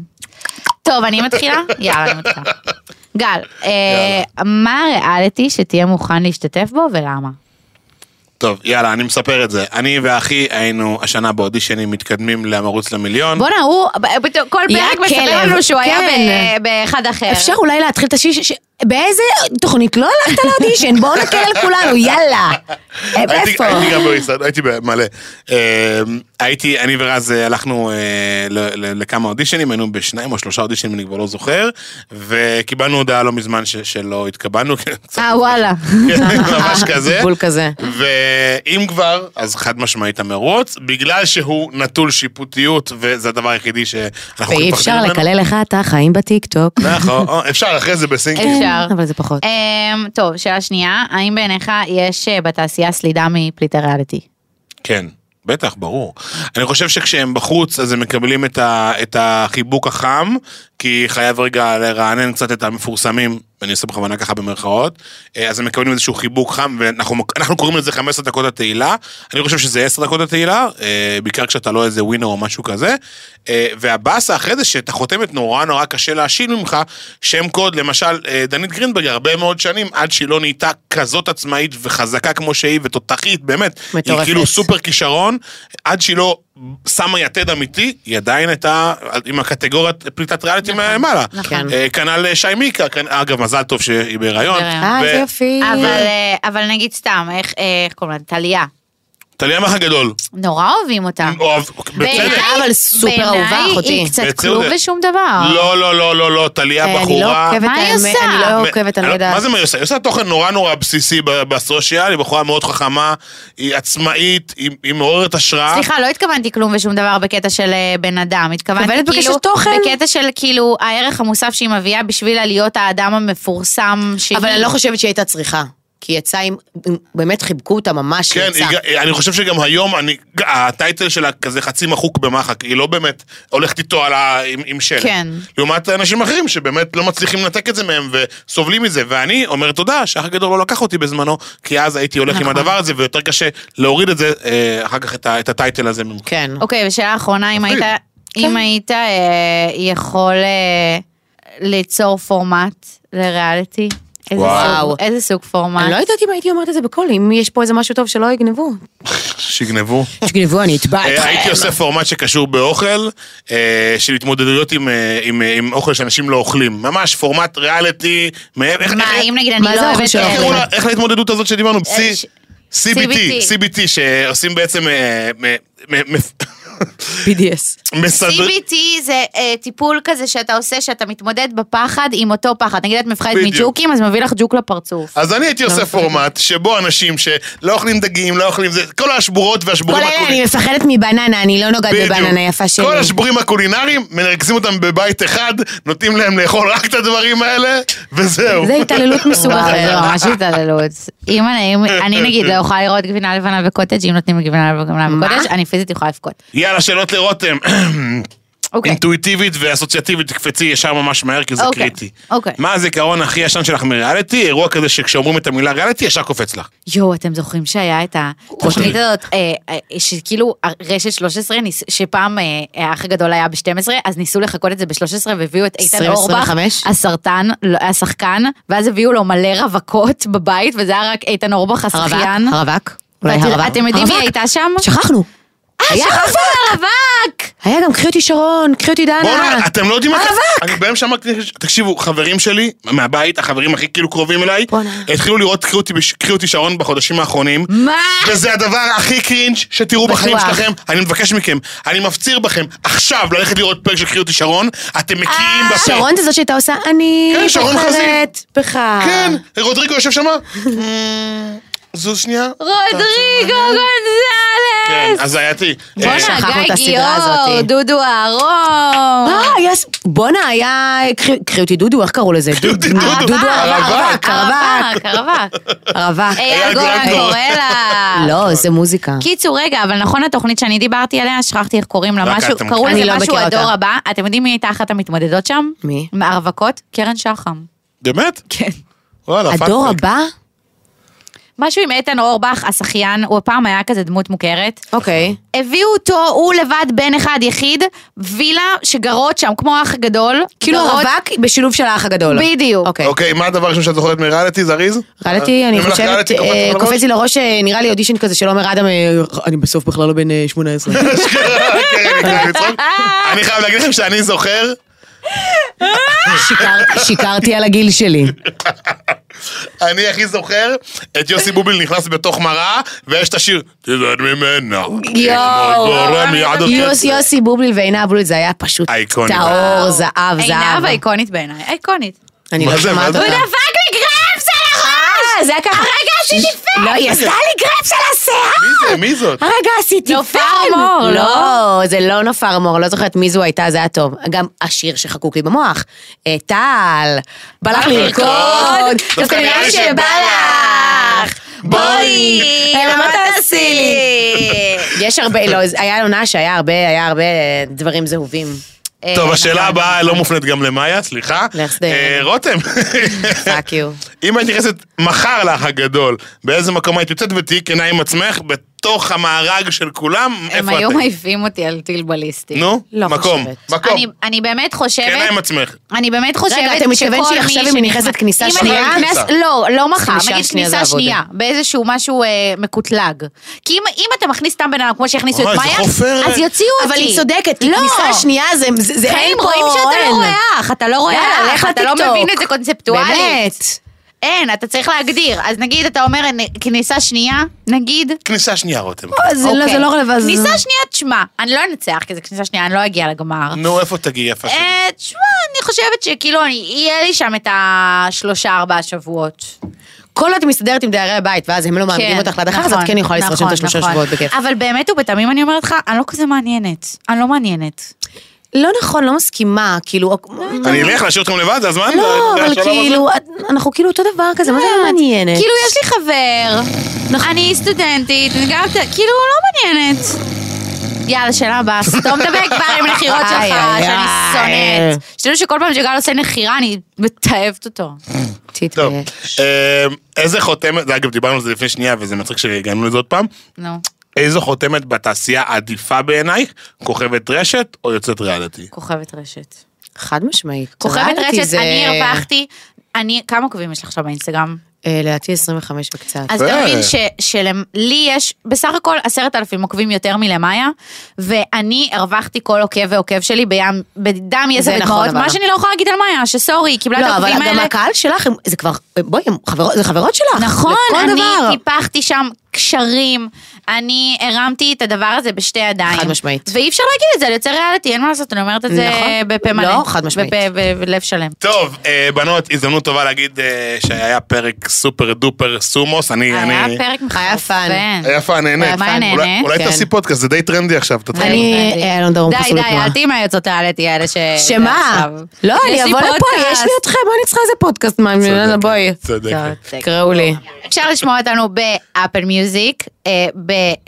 Speaker 3: טוב, אני מתחילה? יאללה, אני מתחילה. גל, אה, מה הריאליטי שתהיה מוכן להשתתף בו ולמה?
Speaker 2: טוב, יאללה, אני מספר את זה. אני ואחי היינו השנה באודישנים מתקדמים למרוץ למיליון.
Speaker 3: בואנה, הוא, ב- ב- כל
Speaker 4: יא
Speaker 3: פרק מספר
Speaker 4: כלב,
Speaker 3: לנו שהוא היה
Speaker 4: כן.
Speaker 3: ב- באחד אחר.
Speaker 4: אפשר אולי להתחיל את השיש... ש- באיזה תוכנית לא הלכת לאודישן? בואו נקל על כולנו, יאללה. אה,
Speaker 2: הייתי-
Speaker 4: איפה?
Speaker 2: הייתי גם בישראל, הייתי במלא. אה, הייתי, אני ורז אה, הלכנו אה, ל- ל- לכמה אודישנים, היינו בשניים או שלושה אודישנים, אני כבר לא זוכר, וקיבלנו הודעה לא מזמן ש- שלא התקבלנו. קצת-
Speaker 3: אה, וואלה.
Speaker 2: כן, ממש כזה.
Speaker 4: אה, בול כזה.
Speaker 2: ואם כבר, אז חד משמעית המרוץ, בגלל שהוא נטול שיפוטיות, וזה הדבר היחידי שאנחנו
Speaker 4: ואי
Speaker 2: מפחדים
Speaker 4: אפשר
Speaker 2: ממנו.
Speaker 4: לקלל לך את החיים בטיקטוק.
Speaker 2: נכון, או, אפשר אחרי זה בסינקים.
Speaker 3: אפשר.
Speaker 4: אבל זה פחות.
Speaker 3: אמ, טוב, שאלה שנייה, האם בעיניך יש אה, בתעשייה סלידה מפליטי ריאליטי?
Speaker 2: כן, בטח, ברור. אני חושב שכשהם בחוץ, אז הם מקבלים את, ה, את החיבוק החם, כי חייב רגע לרענן קצת את המפורסמים, ואני עושה בכוונה ככה במרכאות, אה, אז הם מקבלים איזשהו חיבוק חם, ואנחנו אנחנו קוראים לזה 15 דקות התהילה, אני חושב שזה 10 דקות התהילה, אה, בעיקר כשאתה לא איזה ווינר או משהו כזה, אה, והבאסה אחרי זה שאת החותמת נורא נורא קשה להשיל ממך, שם קוד, למשל, אה, דנית גרינברג הרבה מאוד שנים, עד שהיא לא נהייתה כזאת עצמאית וחזקה כמו שהיא, ותותחית, באמת, היא
Speaker 4: מטורפת.
Speaker 2: כאילו סופר כישרון, עד שהיא לא שמה יתד אמיתי, היא עדיין הייתה עם הקטגוריית פליטת ריאליטי מעלה.
Speaker 4: נכון.
Speaker 2: אה, כנ"ל שי מיקה, כנ- אגב, מזל טוב שהיא בהיריון.
Speaker 3: בהיריון.
Speaker 4: אה,
Speaker 2: ו-
Speaker 4: איזה יופי.
Speaker 3: אבל, אה, אבל נגיד סתם, איך, אה, איך קוראים לה? טליה.
Speaker 2: טליה מח הגדול.
Speaker 3: נורא אוהבים אותה.
Speaker 2: אוהב-
Speaker 3: בעיניי-
Speaker 2: בצדק.
Speaker 4: אבל סופר אהובה,
Speaker 3: אה, בעיניי
Speaker 4: אחותי.
Speaker 3: היא קצת
Speaker 2: בצדק.
Speaker 3: כלום ושום דבר.
Speaker 2: אה, לא, לא, לא, לא, לא, טליה
Speaker 4: אה, אני לא
Speaker 2: בחורה...
Speaker 4: עוקבת,
Speaker 3: מה היא
Speaker 4: האמת,
Speaker 3: עושה?
Speaker 4: אני לא
Speaker 2: מ-
Speaker 4: עוקבת, אני
Speaker 2: לא-
Speaker 4: לא יודעת.
Speaker 2: מה זה מה היא עושה? היא עושה תוכן נורא נורא בסיסי ב- בסושיאל, היא בחורה מאוד חכמה, היא עצמאית, היא- היא מעוררת השראה.
Speaker 3: סליחה, לא התכוונתי כלום ושום דבר בקטע של אה, בן אדם. התכוונתי
Speaker 4: מתכוונת בקשר
Speaker 3: כאילו,
Speaker 4: תוכן?
Speaker 3: בקטע של כאילו הערך המוסף שהיא מביאה בשביל להיות האדם המפורסם שהיא.
Speaker 4: אבל אני לא חושבת שהיא הייתה צריכה. כי היא יצאה עם, עם- באמת חיבקו אותה ממש, היא
Speaker 2: כן,
Speaker 4: יצאה.
Speaker 2: היא ג- אני חושב שגם היום, אני- הטייטל שלה כזה חצי מחוק במחק, היא לא באמת הולכת איתו על ה- עם- עם שלט.
Speaker 3: כן.
Speaker 2: לעומת אנשים אחרים שבאמת לא מצליחים לנתק את זה מהם וסובלים מזה, ואני אומר תודה שהאח הגדול לא לקח אותי בזמנו, כי אז הייתי הולך עם
Speaker 3: נכון.
Speaker 2: הדבר הזה, ויותר קשה להוריד את זה, אה, אחר כך את ה- את הטייטל הזה ממך.
Speaker 4: כן.
Speaker 3: אוקיי, ושאלה אחרונה, אם היית,
Speaker 2: אפילו.
Speaker 3: אם היית אה, יכול אה, ליצור פורמט לריאליטי, איזה
Speaker 2: וואו.
Speaker 3: סוג- איזה סוג פורמט?
Speaker 4: אני לא יודעת אם הייתי אומרת את זה בקול, אם יש פה איזה משהו טוב שלא יגנבו.
Speaker 2: שיגנבו.
Speaker 4: שגנבו, אני אתבע
Speaker 2: אה, הייתי
Speaker 3: לא.
Speaker 2: עושה פורמט שקשור באוכל, אה, של התמודדויות עם, אה, עם, אה, עם אוכל שאנשים לא אוכלים. ממש פורמט ריאליטי. מה, איך,
Speaker 3: מה,
Speaker 2: איך-
Speaker 3: אם נגיד אני
Speaker 4: מה
Speaker 3: לא
Speaker 4: זה האוכל
Speaker 3: אוהבת...
Speaker 4: שלך?
Speaker 2: איך
Speaker 3: אה,
Speaker 2: קראו לה- איך להתמודדות הזאת שדיברנו?
Speaker 3: אה, ש-
Speaker 2: CBT,
Speaker 3: CBT.
Speaker 2: CBT, שעושים בעצם... אה, מ- מ- מ-
Speaker 4: BDS.
Speaker 2: מסדר-
Speaker 3: CBT זה אה, טיפול כזה שאתה עושה, שאתה מתמודד בפחד עם אותו פחד. נגיד את מפחדת
Speaker 2: בדיוק.
Speaker 3: מג'וקים, אז מביא לך ג'וק לפרצוף.
Speaker 2: אז אני הייתי עושה פורמט שבו אנשים שלא אוכלים דגים, לא אוכלים זה, כל השבורות
Speaker 4: כל
Speaker 2: והשבורים
Speaker 4: אלה,
Speaker 2: הקולינריים.
Speaker 4: אני מפחדת מבננה, אני לא נוגעת בבננה יפה שלי.
Speaker 2: כל השבורים הקולינריים, מרכזים אותם בבית אחד, נותנים להם לאכול רק את הדברים האלה, וזהו.
Speaker 4: זה התעללות מסוג
Speaker 3: וואו,
Speaker 4: אחר.
Speaker 3: זה ממש התעללות. אם אני, אם- אני נגיד לא יכולה לראות גבינה לבנה וקוטג', אם נותנים לי גבינה לבנה
Speaker 4: מה?
Speaker 3: וקוטג', אני פיזית יכולה לבכות.
Speaker 2: יאללה, שאלות לרותם.
Speaker 3: אוקיי.
Speaker 2: אינטואיטיבית ואסוציאטיבית, תקפצי ישר ממש מהר, כי זה
Speaker 3: אוקיי,
Speaker 2: קריטי.
Speaker 3: אוקיי.
Speaker 2: מה הזיכרון הכי ישן שלך מריאליטי? אירוע כזה שכשאומרים את המילה ריאליטי, ישר קופץ לך.
Speaker 3: יואו, אתם זוכרים שהיה את התוכנית הזאת, אה, אה, שכאילו רשת 13, ניס- שפעם אה, האח הגדול היה ב-12, אז ניסו לחקות את זה ב-13 והביאו את איתן
Speaker 4: 20,
Speaker 3: אורבך,
Speaker 4: 25?
Speaker 3: הסרטן, לא, השחקן, ואז הביאו לו מלא רווקות בבית, וזה היה רק איתן אורבך השחיין.
Speaker 4: הרווק? הרווק? אולי
Speaker 3: ואת-
Speaker 4: הרווק?
Speaker 3: אתם יודעים מי
Speaker 4: הרווק?
Speaker 3: הייתה שם?
Speaker 4: שכחנו.
Speaker 3: אה, יש
Speaker 4: היה
Speaker 3: חוסר הרווק!
Speaker 4: היה גם קחי אותי שרון, קחי אותי
Speaker 3: אה,
Speaker 4: דנה.
Speaker 2: בואנה, אתם לא יודעים מה זה...
Speaker 4: אבק.
Speaker 2: אני באמצע אמרתי, תקשיבו, חברים שלי מהבית, החברים הכי כאילו קרובים אליי,
Speaker 4: בואנה.
Speaker 2: התחילו לראות קחי אותי בש- קחי אותי שרון בחודשים האחרונים.
Speaker 3: מה?
Speaker 2: וזה הדבר הכי קרינג' שתראו
Speaker 4: בטוח.
Speaker 2: בחיים שלכם. אני מבקש מכם, אני מפציר בכם עכשיו ללכת לראות פרק של קחי אותי שרון, אתם מקיאים
Speaker 3: אה,
Speaker 2: בפה.
Speaker 4: שרון זה זאת שהייתה עושה, אני
Speaker 2: כן, שרון
Speaker 4: בוחרת בך.
Speaker 2: כן, רודריגו יושב שם. זוז שנייה.
Speaker 3: רודריגו
Speaker 2: כן,
Speaker 3: גונזלס!
Speaker 2: אז הייתי.
Speaker 4: אה, שכחנו
Speaker 3: בואנה,
Speaker 4: את
Speaker 3: גיא
Speaker 4: הסדרה
Speaker 3: גיאור,
Speaker 4: הזאת.
Speaker 3: דודו אהרון.
Speaker 4: אה, יס, בואנה, היה... קחי- קחי אותי דודו, איך קראו לזה?
Speaker 2: אותי
Speaker 4: דודו,
Speaker 2: דודו.
Speaker 4: דודו,
Speaker 2: הרווק.
Speaker 4: הרווק, הרווק,
Speaker 3: הרווק, הרווק.
Speaker 4: הרווק.
Speaker 3: אייל גולן
Speaker 2: גולן.
Speaker 3: קורא לה.
Speaker 4: לא, זה מוזיקה.
Speaker 3: קיצור, רגע, אבל נכון התוכנית שאני דיברתי עליה, שכחתי איך קוראים לה
Speaker 2: רק
Speaker 3: משהו,
Speaker 2: את
Speaker 3: קראו
Speaker 2: מכירה.
Speaker 3: לזה
Speaker 4: אני לא
Speaker 3: משהו
Speaker 4: מכירה
Speaker 3: הדור
Speaker 4: אותה.
Speaker 3: הבא. אתם יודעים מי הייתה אחת המתמודדות שם?
Speaker 4: מי?
Speaker 3: מהרווקות? קרן שחם.
Speaker 2: באמת?
Speaker 3: כן.
Speaker 2: וואלה,
Speaker 4: הדור
Speaker 2: פאנפק.
Speaker 4: הבא?
Speaker 3: משהו עם איתן אורבך, השחיין, הוא הפעם היה כזה דמות מוכרת.
Speaker 4: אוקיי.
Speaker 3: הביאו אותו, הוא לבד, בן אחד יחיד, וילה שגרות שם, כמו האח הגדול.
Speaker 4: כאילו
Speaker 3: גרות-
Speaker 4: הרווק בשילוב של האח הגדול.
Speaker 3: בדיוק.
Speaker 4: אוקיי.
Speaker 2: אוקיי, מה הדבר הראשון שאת זוכרת מריאליטי, זריז?
Speaker 4: ריאליטי,
Speaker 2: אם
Speaker 4: אני
Speaker 2: לך
Speaker 4: חושבת,
Speaker 2: ריאליטי, קופץ לך
Speaker 4: אה,
Speaker 2: לראש?
Speaker 4: קופץ לי לראש, אה, נראה לי אודישן כזה של עומר אדם, אה, אני בסוף בכלל לא בן אה, 18.
Speaker 2: כן, כן, לצחוק. אני חייב להגיד לכם שאני זוכר,
Speaker 4: שיקרתי- שיקרתי על הגיל שלי.
Speaker 2: אני הכי זוכר, את יוסי בוביל נכנס בתוך מראה, ויש את השיר, תדעת ממנה.
Speaker 4: יואו.
Speaker 2: גורם יד עוד
Speaker 4: יוס,
Speaker 2: קצת.
Speaker 4: יוסי בובליל ועינב בובליל זה היה פשוט
Speaker 2: אייקוני.
Speaker 4: טהור, זהב, זהב.
Speaker 3: עינב איקונית בעיניי, איקונית.
Speaker 4: אני
Speaker 2: מה
Speaker 4: לא
Speaker 2: זה, מה
Speaker 4: שומעת
Speaker 2: זה?
Speaker 4: אותה.
Speaker 3: הוא דפק לי גרפס על הראש!
Speaker 4: אה, זה היה ככה.
Speaker 3: הרגע ששיפה!
Speaker 4: לא, היא עשתה לי גרפס על השיער!
Speaker 2: מי זה? מי זאת?
Speaker 4: הרגע עשיתי
Speaker 3: נופר מור, לא?
Speaker 4: לא, זה לא נופר מור, לא זוכרת מי זו הייתה, זה היה טוב. גם השיר שחקוק לי במוח. אה, טל, בא לך לרקוד, דווקא נראה לי שבא לך. בואי, אלא מה תעשי לי? יש הרבה, לא, זה- היה עונה שהיה הרבה, היה הרבה אה, דברים זהובים. אה, נכון.
Speaker 2: טוב, השאלה הבאה לא מופנית גם למאיה, סליחה.
Speaker 4: לך שדה.
Speaker 2: אה, רותם,
Speaker 4: פאק יו.
Speaker 2: אם היית נכנסת מחר לאח הגדול, באיזה מקום היית יוצאת ותהיי כנה עם עצמך, בתוך המארג של כולם,
Speaker 3: הם
Speaker 2: איפה
Speaker 3: היו
Speaker 2: אתם?
Speaker 3: מעיפים אותי על טיל בליסטי.
Speaker 2: נו,
Speaker 4: לא
Speaker 2: מקום,
Speaker 4: חושבת.
Speaker 2: מקום.
Speaker 3: אני- אני באמת
Speaker 2: כנה
Speaker 3: חושבת...
Speaker 2: עם עצמך.
Speaker 3: אני באמת חושבת שכל מי
Speaker 4: רגע, אתה מתכוון שהיא עכשיו, אם היא
Speaker 3: שנכנס-
Speaker 4: נכנסת כניסה
Speaker 3: אם אני
Speaker 4: שנייה?
Speaker 3: נכנס- לא, לא מחר,
Speaker 4: כניסה
Speaker 3: נגיד
Speaker 4: שנייה זה
Speaker 3: כניסה
Speaker 4: עבודה.
Speaker 3: שנייה, באיזשהו משהו אה, מקוטלג. כי אם- אם אתה מכניס סתם בן אדם, כמו שהכניסו
Speaker 2: אוי,
Speaker 3: את
Speaker 2: זה
Speaker 3: מאיה,
Speaker 2: חופר.
Speaker 3: אז יוציאו אותי.
Speaker 4: אבל היא צודקת, כי
Speaker 3: לא.
Speaker 4: כניסה השנייה זה- זה זה אין
Speaker 3: חיים
Speaker 4: פה...
Speaker 3: רואים שאתה
Speaker 4: אין.
Speaker 3: לא רואה אח, אתה לא רואה
Speaker 4: יאללה,
Speaker 3: אח,
Speaker 4: לך
Speaker 3: אתה לא
Speaker 4: לטיקטוק.
Speaker 3: מבין את זה קונספטואלית.
Speaker 4: באמת.
Speaker 3: אין, אתה צריך להגדיר. אז נגיד אתה אומר "נ- כניסה שנייה, נגיד.
Speaker 2: כניסה שנייה, רותם.
Speaker 4: זה לא-
Speaker 3: אוקיי.
Speaker 4: זה לא רלוונטי.
Speaker 3: כניסה שנייה, תשמע, אני לא אנצח כי זה כניסה שנייה, אני לא אגיע לגמר.
Speaker 2: נו, איפה תגיעי יפה שלי?
Speaker 3: אה, תשמע, אני חושבת שכאילו, אני- יהיה לי שם את השלושה, ארבעה שבועות.
Speaker 4: כל עוד היא מסתדרת עם דיירי הבית, ואז הם לא מעמידים אה, אותך ליד אחר, אז את
Speaker 3: נכון,
Speaker 4: כן יכולה לשרוד שם
Speaker 3: נכון,
Speaker 4: את השלושה
Speaker 3: נכון.
Speaker 4: שבועות בכיף.
Speaker 3: אבל באמת ובתמים אני אומרת לך, אני לא כזה מעניינת. אני לא מעניינת.
Speaker 4: לא נכון, לא מסכימה, כאילו...
Speaker 2: אני אלך להשאיר אתכם לבד, זה הזמן?
Speaker 4: לא,
Speaker 2: זה
Speaker 4: אבל
Speaker 2: השלב הזה?
Speaker 4: כאילו, את- אנחנו כאילו אותו דבר כזה, מה זה מעניינת? נכון.
Speaker 3: כאילו, יש לי חבר, אני סטודנטית, אני גם, כאילו, לא מעניינת. יאללה, שאלה הבאה, סתום את הפה כבר עם נחירות
Speaker 4: איי,
Speaker 3: שלך,
Speaker 4: איי,
Speaker 3: שאני
Speaker 4: איי.
Speaker 3: שונאת. שתדעו שכל פעם שגל עושה נחירה, אני מתעבת אותו.
Speaker 2: טוב.
Speaker 4: תתבייש.
Speaker 2: אה, איזה חותמת, אגב, דיברנו על זה לפני שנייה, וזה מצחיק שהגענו לזה עוד פעם.
Speaker 3: נו,
Speaker 2: איזו חותמת בתעשייה עדיפה בעינייך? כוכבת רשת או יוצאת ריאליטי?
Speaker 3: כוכבת רשת.
Speaker 4: חד משמעית.
Speaker 3: כוכבת
Speaker 4: ריאליטי
Speaker 3: רשת,
Speaker 4: זה-
Speaker 3: אני הרווחתי, אני, כמה עוקבים יש לך עכשיו באינסטגרם?
Speaker 4: אה, לדעתי 25 וקצת.
Speaker 3: אז
Speaker 2: יפה.
Speaker 3: אתה מבין ש- שלי יש בסך הכל עשרת אלפים עוקבים יותר מלמאיה, ואני הרווחתי כל עוקב ועוקב שלי בים- בדם יזע
Speaker 4: זה נכון,
Speaker 3: ודמעות,
Speaker 4: אבל-
Speaker 3: מה שאני לא יכולה להגיד על מאיה, שסורי, היא קיבלה את
Speaker 4: לא, אבל
Speaker 3: העוקבים האלה.
Speaker 4: גם הקהל שלך, הם- זה כבר... בואי, הם חברות- זה חברות שלך.
Speaker 3: נכון,
Speaker 4: לכל
Speaker 3: אני
Speaker 4: דבר.
Speaker 3: טיפחתי שם קשרים, אני הרמתי את הדבר הזה בשתי ידיים.
Speaker 4: חד משמעית.
Speaker 3: ואי אפשר להגיד את זה על יוצר ריאליטי, אין מה לעשות, אני אומרת את זה
Speaker 4: נכון.
Speaker 3: בפה מלא.
Speaker 4: לא, חד משמעית.
Speaker 3: בפה ולב שלם.
Speaker 2: טוב, אה, בנות, הזדמנות טובה להגיד אה, שהיה פרק סופר דופר סומוס. אני...
Speaker 3: היה
Speaker 2: אני-
Speaker 3: פרק מחרפן.
Speaker 4: היה פאן.
Speaker 2: היה פאן, נהנית.
Speaker 3: היה פאן,
Speaker 2: אולי-
Speaker 3: נהנית,
Speaker 2: אולי
Speaker 4: כן.
Speaker 2: תעשי פודקאסט, זה די טרנדי עכשיו. תתחילי.
Speaker 4: אני אה, אלון דרום
Speaker 3: די,
Speaker 4: חסול
Speaker 3: די,
Speaker 4: התנועה.
Speaker 3: אל תהיי מהיוצאות הריאליטי האלה ש...
Speaker 4: שמה?
Speaker 3: עכשיו.
Speaker 4: לא,
Speaker 3: יש
Speaker 4: אני
Speaker 3: לי
Speaker 4: אבוא לפה,
Speaker 3: פודקאסט.
Speaker 4: יש לי אתכם, מה אני צריכה איזה פודקאסט מעניין?
Speaker 2: צודקת,
Speaker 4: בואי.
Speaker 2: צודקת.
Speaker 4: תקראו לי.
Speaker 3: אפשר לשמוע אותנו באפל מיוזיק, אה,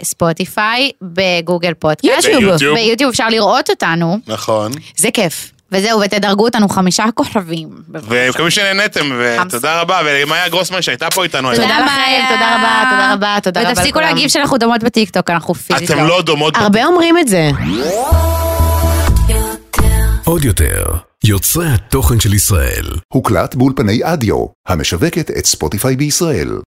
Speaker 3: בספוטיפיי, בגוגל פודקאסט.
Speaker 4: יוטיוב.
Speaker 2: ביוטיוב.
Speaker 3: ביוטיוב אפשר לראות אותנו,
Speaker 2: נכון.
Speaker 4: זה כיף.
Speaker 3: וזהו, ותדרגו אותנו חמישה כוכבים.
Speaker 2: ומקווים שנהנתם, ותודה רבה, ומאיה גרוסמן שהייתה פה איתנו. היום.
Speaker 4: תודה לכם,
Speaker 3: מאיה.
Speaker 4: תודה רבה, תודה רבה, תודה רבה
Speaker 3: ותפסיקו
Speaker 4: לכולם.
Speaker 3: להגיב שאנחנו דומות בטיקטוק, אנחנו פיזית
Speaker 2: אתם לא דומות.
Speaker 4: הרבה אומרים את זה.
Speaker 1: עוד יותר, יוצרי התוכן של ישראל.
Speaker 5: הוקלט באולפני אדיו, המשווקת את ספוטיפיי בישראל.